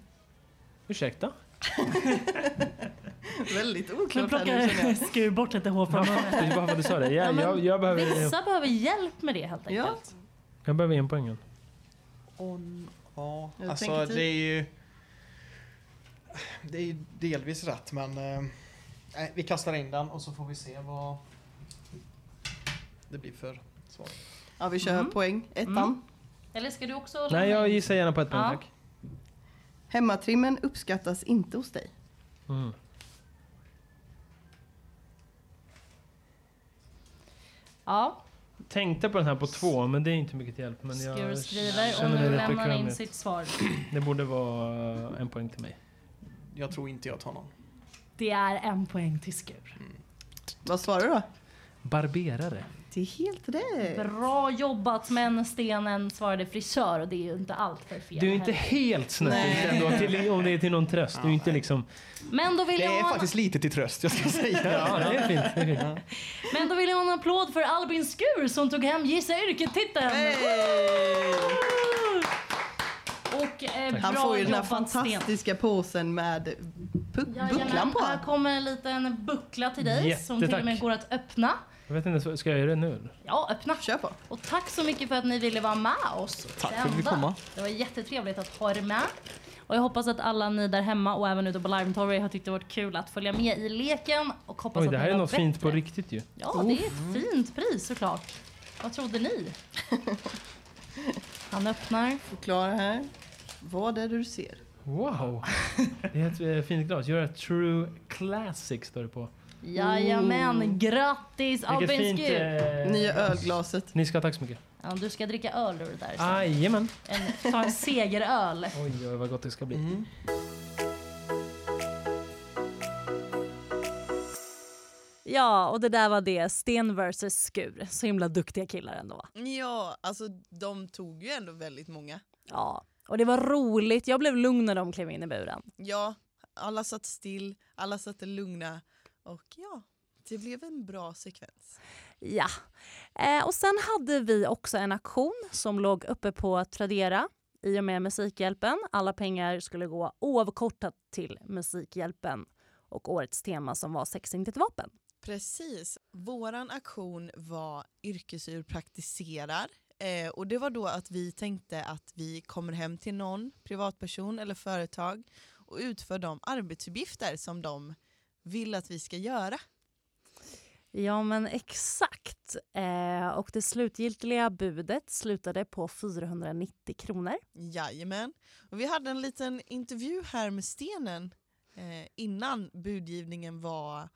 Speaker 6: Ursäkta?
Speaker 8: Väldigt
Speaker 2: Nu
Speaker 8: oklart här nu känner
Speaker 2: plockar
Speaker 8: jag.
Speaker 2: Skur bort lite hår från
Speaker 6: Jag
Speaker 2: munnen.
Speaker 6: fattar ju bara för att du sa det.
Speaker 2: Ja,
Speaker 6: Jag,
Speaker 2: men
Speaker 6: jag, jag, behöver,
Speaker 2: Vissa behöver hjälp med det helt
Speaker 8: Ja,
Speaker 2: enkelt.
Speaker 6: jag behöver en poängen.
Speaker 7: Ja,
Speaker 8: Jag
Speaker 7: alltså
Speaker 8: tänker typ-
Speaker 7: det är ju... Det är ju delvis rätt, men... eh, nej, vi kastar in den och så får vi se vad det blir för svar.
Speaker 8: ja vi kör
Speaker 2: Mhm.
Speaker 8: poäng. Ettan.
Speaker 2: Mm. Eller ska du också... lämna
Speaker 6: Nej, jag
Speaker 2: in?
Speaker 6: gissar gärna på ett poäng,
Speaker 2: Ja.
Speaker 6: tack.
Speaker 8: Hemmatrimmen uppskattas inte hos dig.
Speaker 6: Mm.
Speaker 2: Ja,
Speaker 6: Tänkte på den här på två, men det är inte mycket till hjälp. Men
Speaker 2: Skur
Speaker 6: jag
Speaker 2: skriver och
Speaker 6: känner mig
Speaker 2: nu lämnar
Speaker 6: rätt
Speaker 2: han
Speaker 6: bekväm
Speaker 2: in
Speaker 6: med.
Speaker 2: sitt svar.
Speaker 6: Det borde vara en poäng till mig.
Speaker 7: Jag tror inte jag tar någon.
Speaker 2: Det är en poäng till Skur.
Speaker 8: Vad svarar du då?
Speaker 6: Barberare.
Speaker 8: Det är helt rätt.
Speaker 2: Bra jobbat men Stenen svarade frisör och det är ju inte allt för fel.
Speaker 6: Du är inte
Speaker 2: heller.
Speaker 6: helt snett ändå, till, om det är till någon tröst. Du är inte liksom...
Speaker 2: Men då vill
Speaker 7: Det
Speaker 2: jag
Speaker 7: är
Speaker 2: ha en-
Speaker 7: faktiskt lite till tröst, jag ska säga.
Speaker 6: Ja, det är fint. Det är fint.
Speaker 2: Men då vill jag ha en applåd för Albin Skur som tog hem Gissa yrket-titeln. Och eh,
Speaker 8: Han
Speaker 2: bra
Speaker 8: får ju den här
Speaker 2: jobbat, Sten.
Speaker 8: fantastiska påsen med pu-
Speaker 2: Jajamän,
Speaker 8: bucklan på.
Speaker 2: Här kommer en liten buckla till dig som till och med
Speaker 6: Jättetack.
Speaker 2: går att öppna.
Speaker 6: Jag vet inte, så- ska jag göra det nu? eller?
Speaker 2: Ja, öppna.
Speaker 8: Kör på.
Speaker 2: Och tack så mycket för att ni ville vara med oss. Tack
Speaker 7: för att vi fick komma.
Speaker 2: Det var jättetrevligt att ha er med. Och jag hoppas att alla ni där hemma och även ute på Limetorget har tyckt det varit kul att följa med i leken. Och hoppas
Speaker 6: Oj,
Speaker 2: att
Speaker 6: det
Speaker 2: ni
Speaker 6: här är
Speaker 2: var
Speaker 6: något fint på
Speaker 2: bättre.
Speaker 6: riktigt Mm. ju.
Speaker 2: Ja, det är ett fint pris såklart. Vad trodde ni? Han öppnar.
Speaker 8: Förklara här. Vad är det du ser?
Speaker 6: Wow! Det är ett eh, fint glas. Gör ett True Classic står det på.
Speaker 2: Jajamän, grattis
Speaker 6: Oh. Vilket
Speaker 2: Albin
Speaker 6: fint...
Speaker 2: Skur!
Speaker 6: Eh,
Speaker 8: Nya ölglaset.
Speaker 6: Ni ska ha tack så mycket.
Speaker 2: Ja, du ska dricka öl ur det där sen.
Speaker 6: Jajamän.
Speaker 2: En, ta en segeröl.
Speaker 6: Oj, oj, vad gott det ska bli.
Speaker 7: Mm,
Speaker 2: Ja, och det där var det. Sten vs Skur. Så himla duktiga killar ändå.
Speaker 1: Ja, alltså de tog ju ändå väldigt många.
Speaker 2: Ja, och det var roligt. Jag blev lugn när de klev in i buren.
Speaker 1: Ja, alla satt still, alla satt lugna och ja, det blev en bra sekvens.
Speaker 2: Ja. Eh, och sen hade vi också en aktion som låg uppe på Tradera i och med Musikhjälpen. Alla pengar skulle gå oavkortat till Musikhjälpen och årets tema som var sex inte ett vapen.
Speaker 1: Precis. Våran aktion var yrkesur praktiserar. Eh, och det var då att vi tänkte att vi kommer hem till någon privatperson eller företag och utför de arbetsuppgifter som de vill att vi ska göra.
Speaker 2: Ja, men exakt. Eh, och det slutgiltiga budet slutade på 490 kronor.
Speaker 1: Jajamän. Och vi hade en liten intervju här med Stenen eh, innan budgivningen var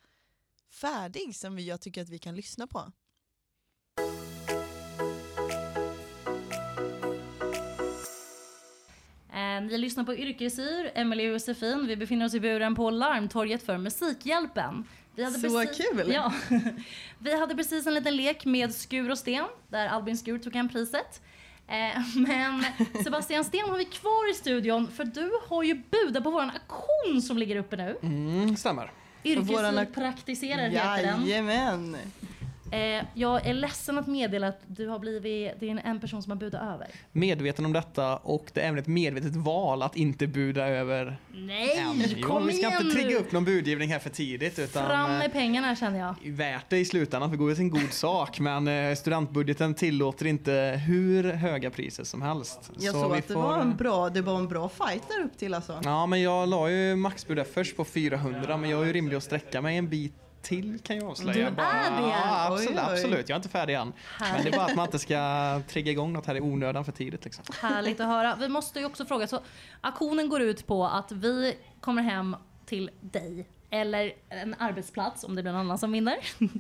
Speaker 1: färdig som vi, jag tycker att vi kan lyssna på.
Speaker 2: Eh, ni lyssnar på Yrkesyr, Emelie och Josefin. Vi befinner oss i buren på Larmtorget för Musikhjälpen. Vi
Speaker 8: Så kul!
Speaker 2: Ja. Vi hade precis en liten lek med Skur och Sten, där Albin Skur tog hem priset. Eh, Men Sebastian Sten har vi kvar i studion, för du har ju budat på våran auktion som ligger uppe nu.
Speaker 7: Mm, stämmer.
Speaker 8: Våran
Speaker 2: Yrkesyr
Speaker 8: auk-
Speaker 2: praktiserar heter den.
Speaker 8: Jajamän!
Speaker 2: Eh, jag är ledsen att meddela att du har blivit, det är en, en person som har budat över.
Speaker 7: Medveten om detta och det är även ett medvetet val att inte buda över än.
Speaker 2: Nej,
Speaker 7: Jo,
Speaker 2: kom
Speaker 7: Vi ska
Speaker 2: igen
Speaker 7: inte trigga
Speaker 2: nu!
Speaker 7: upp någon budgivning här för tidigt utan
Speaker 2: Fram
Speaker 7: eh,
Speaker 2: med pengarna känner jag.
Speaker 7: värt det i slutändan för det går ju till en god sak men eh, studentbudgeten tillåter inte hur höga priser som helst.
Speaker 8: Jag
Speaker 7: Så
Speaker 8: såg
Speaker 7: vi
Speaker 8: att det
Speaker 7: får- eh,
Speaker 8: var, en bra, det var en bra fight där upp till alltså.
Speaker 7: Ja, men jag la ju maxbud där först på 400, men jag är ju rimlig att sträcka mig en bit till kan jag avslöja.
Speaker 2: Du är det?
Speaker 7: Ja, absolut,
Speaker 8: Oj, oj.
Speaker 7: absolut. Jag är inte färdig än. Men det är bara att man inte ska trigga igång något här i onödan för tidigt. Liksom.
Speaker 2: Härligt att höra. Vi måste ju också fråga, så aktionen går ut på att vi kommer hem till dig eller en arbetsplats om det blir någon annan som vinner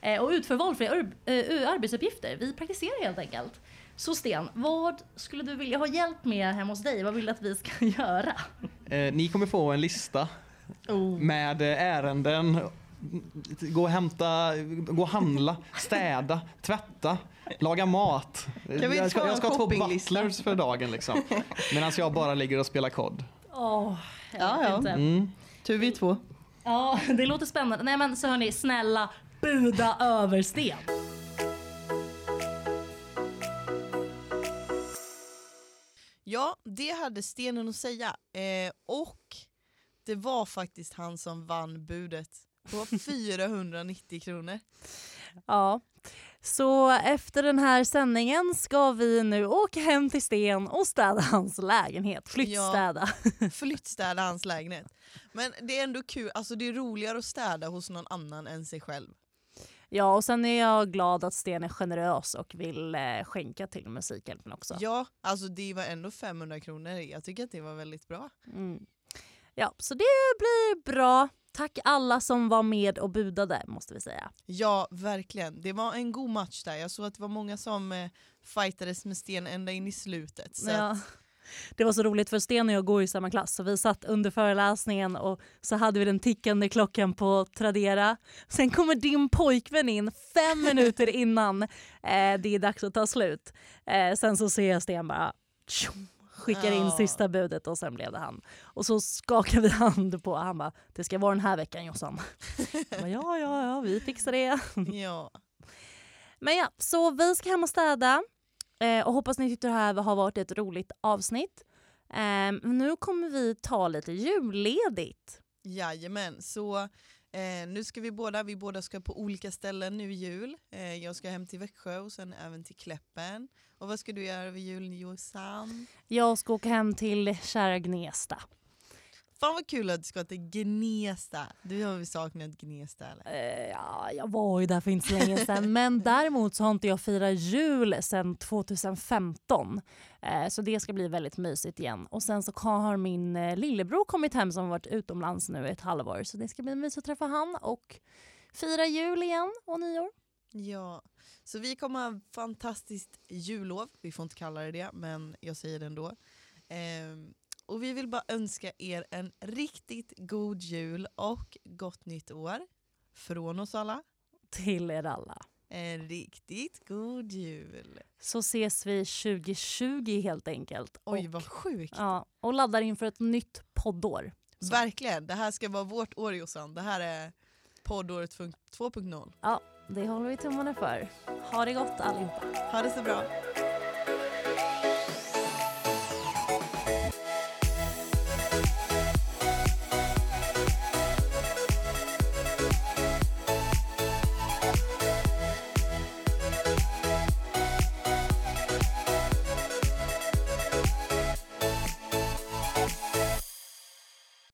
Speaker 2: Eh, och utför valfria ur- eh, arbetsuppgifter. Vi praktiserar helt enkelt. Så Sten, vad skulle du vilja ha hjälp med hemma hos dig? Vad vill du att vi ska göra?
Speaker 7: Eh, ni kommer få en lista med eh, ärenden. Gå och hämta, gå och handla, städa, tvätta, laga mat.
Speaker 8: Kan vi
Speaker 7: jag
Speaker 8: ta
Speaker 7: ska, jag
Speaker 8: en
Speaker 7: ska ha två
Speaker 8: shoppinglista?
Speaker 7: butlers för dagen liksom. Medan jag bara ligger och spelar kod.
Speaker 2: Åh, jag
Speaker 8: Ja,
Speaker 2: vet
Speaker 8: ja.
Speaker 2: inte.
Speaker 7: Mm.
Speaker 8: Tur vi två.
Speaker 2: Ja, det låter spännande. Nej men så hörni, snälla buda över Sten.
Speaker 1: Ja, det hade stenen att säga. Eh, och det var faktiskt han som vann budet på 490 kronor.
Speaker 2: Ja. Så efter den här sändningen ska vi nu åka hem till Sten och städa hans lägenhet. Flyttstäda.
Speaker 1: Flyttstäda hans lägenhet. Men det är ändå kul, alltså det är roligare att städa hos någon annan än sig själv.
Speaker 2: Ja, och sen är jag glad att Sten är generös och vill eh, skänka till Musikhjälpen också.
Speaker 1: Ja, alltså det var ändå 500 kronor. Jag tycker att det var väldigt bra.
Speaker 2: Mm. Ja, så det blir bra. Tack alla som var med och budade måste vi säga.
Speaker 1: Ja, verkligen. Det var en god match där. Jag såg att det var många som eh, fightades med sten ända in i slutet. Så att,
Speaker 2: Ja. Det var så roligt för Sten och jag går i samma klass så vi satt under föreläsningen och så hade vi den tickande klockan på Tradera. Sen kommer din pojkvän in fem minuter innan eh, det är dags att ta slut. Eh, sen så ser jag Sten bara tjong, skickar in
Speaker 1: Ja.
Speaker 2: sista budet och sen blev det han. Och så skakar vi hand på han bara det ska vara den här veckan Jossan. Jag bara, ja ja ja vi fixar det.
Speaker 1: ja.
Speaker 2: Men ja, så vi ska hem och städa. Eh, och hoppas ni tyckte det här har varit ett roligt avsnitt. Eh, nu kommer vi ta lite julledigt.
Speaker 1: Jajamän, så eh, nu ska vi båda, vi båda ska på olika ställen nu i jul. Eh, jag ska hem till Växjö och sen även till Kläppen. Och vad ska du göra över julen Jossan?
Speaker 2: Jag ska åka hem till kära Gnesta.
Speaker 1: Fan vad kul att du ska till Gnesta. Du har väl saknat Gnesta eller?
Speaker 2: Eh, ja, jag var ju där för inte så länge sedan men däremot så har inte jag firat jul sedan 2015. Eh, så det ska bli väldigt mysigt igen. Och sen så har min eh, lillebror kommit hem som har varit utomlands nu ett halvår så det ska bli mysigt att träffa han och fira jul igen och nyår.
Speaker 1: Ja, så vi kommer ha ett fantastiskt jullov. Vi får inte kalla det det, men jag säger det ändå. Ehm, och vi vill bara önska er en riktigt god jul och gott nytt år från oss alla.
Speaker 2: Till er alla.
Speaker 1: En riktigt god jul.
Speaker 2: så ses vi 2020 helt enkelt.
Speaker 1: Oj,
Speaker 2: och,
Speaker 1: vad sjukt.
Speaker 2: ja, och laddar inför ett nytt poddår.
Speaker 1: Verkligen, det här ska vara vårt år Jossan. Det här är poddåret fun- 2.0.
Speaker 2: Det håller vi tummarna för. Ha det gott allihopa.
Speaker 1: Ha det så bra.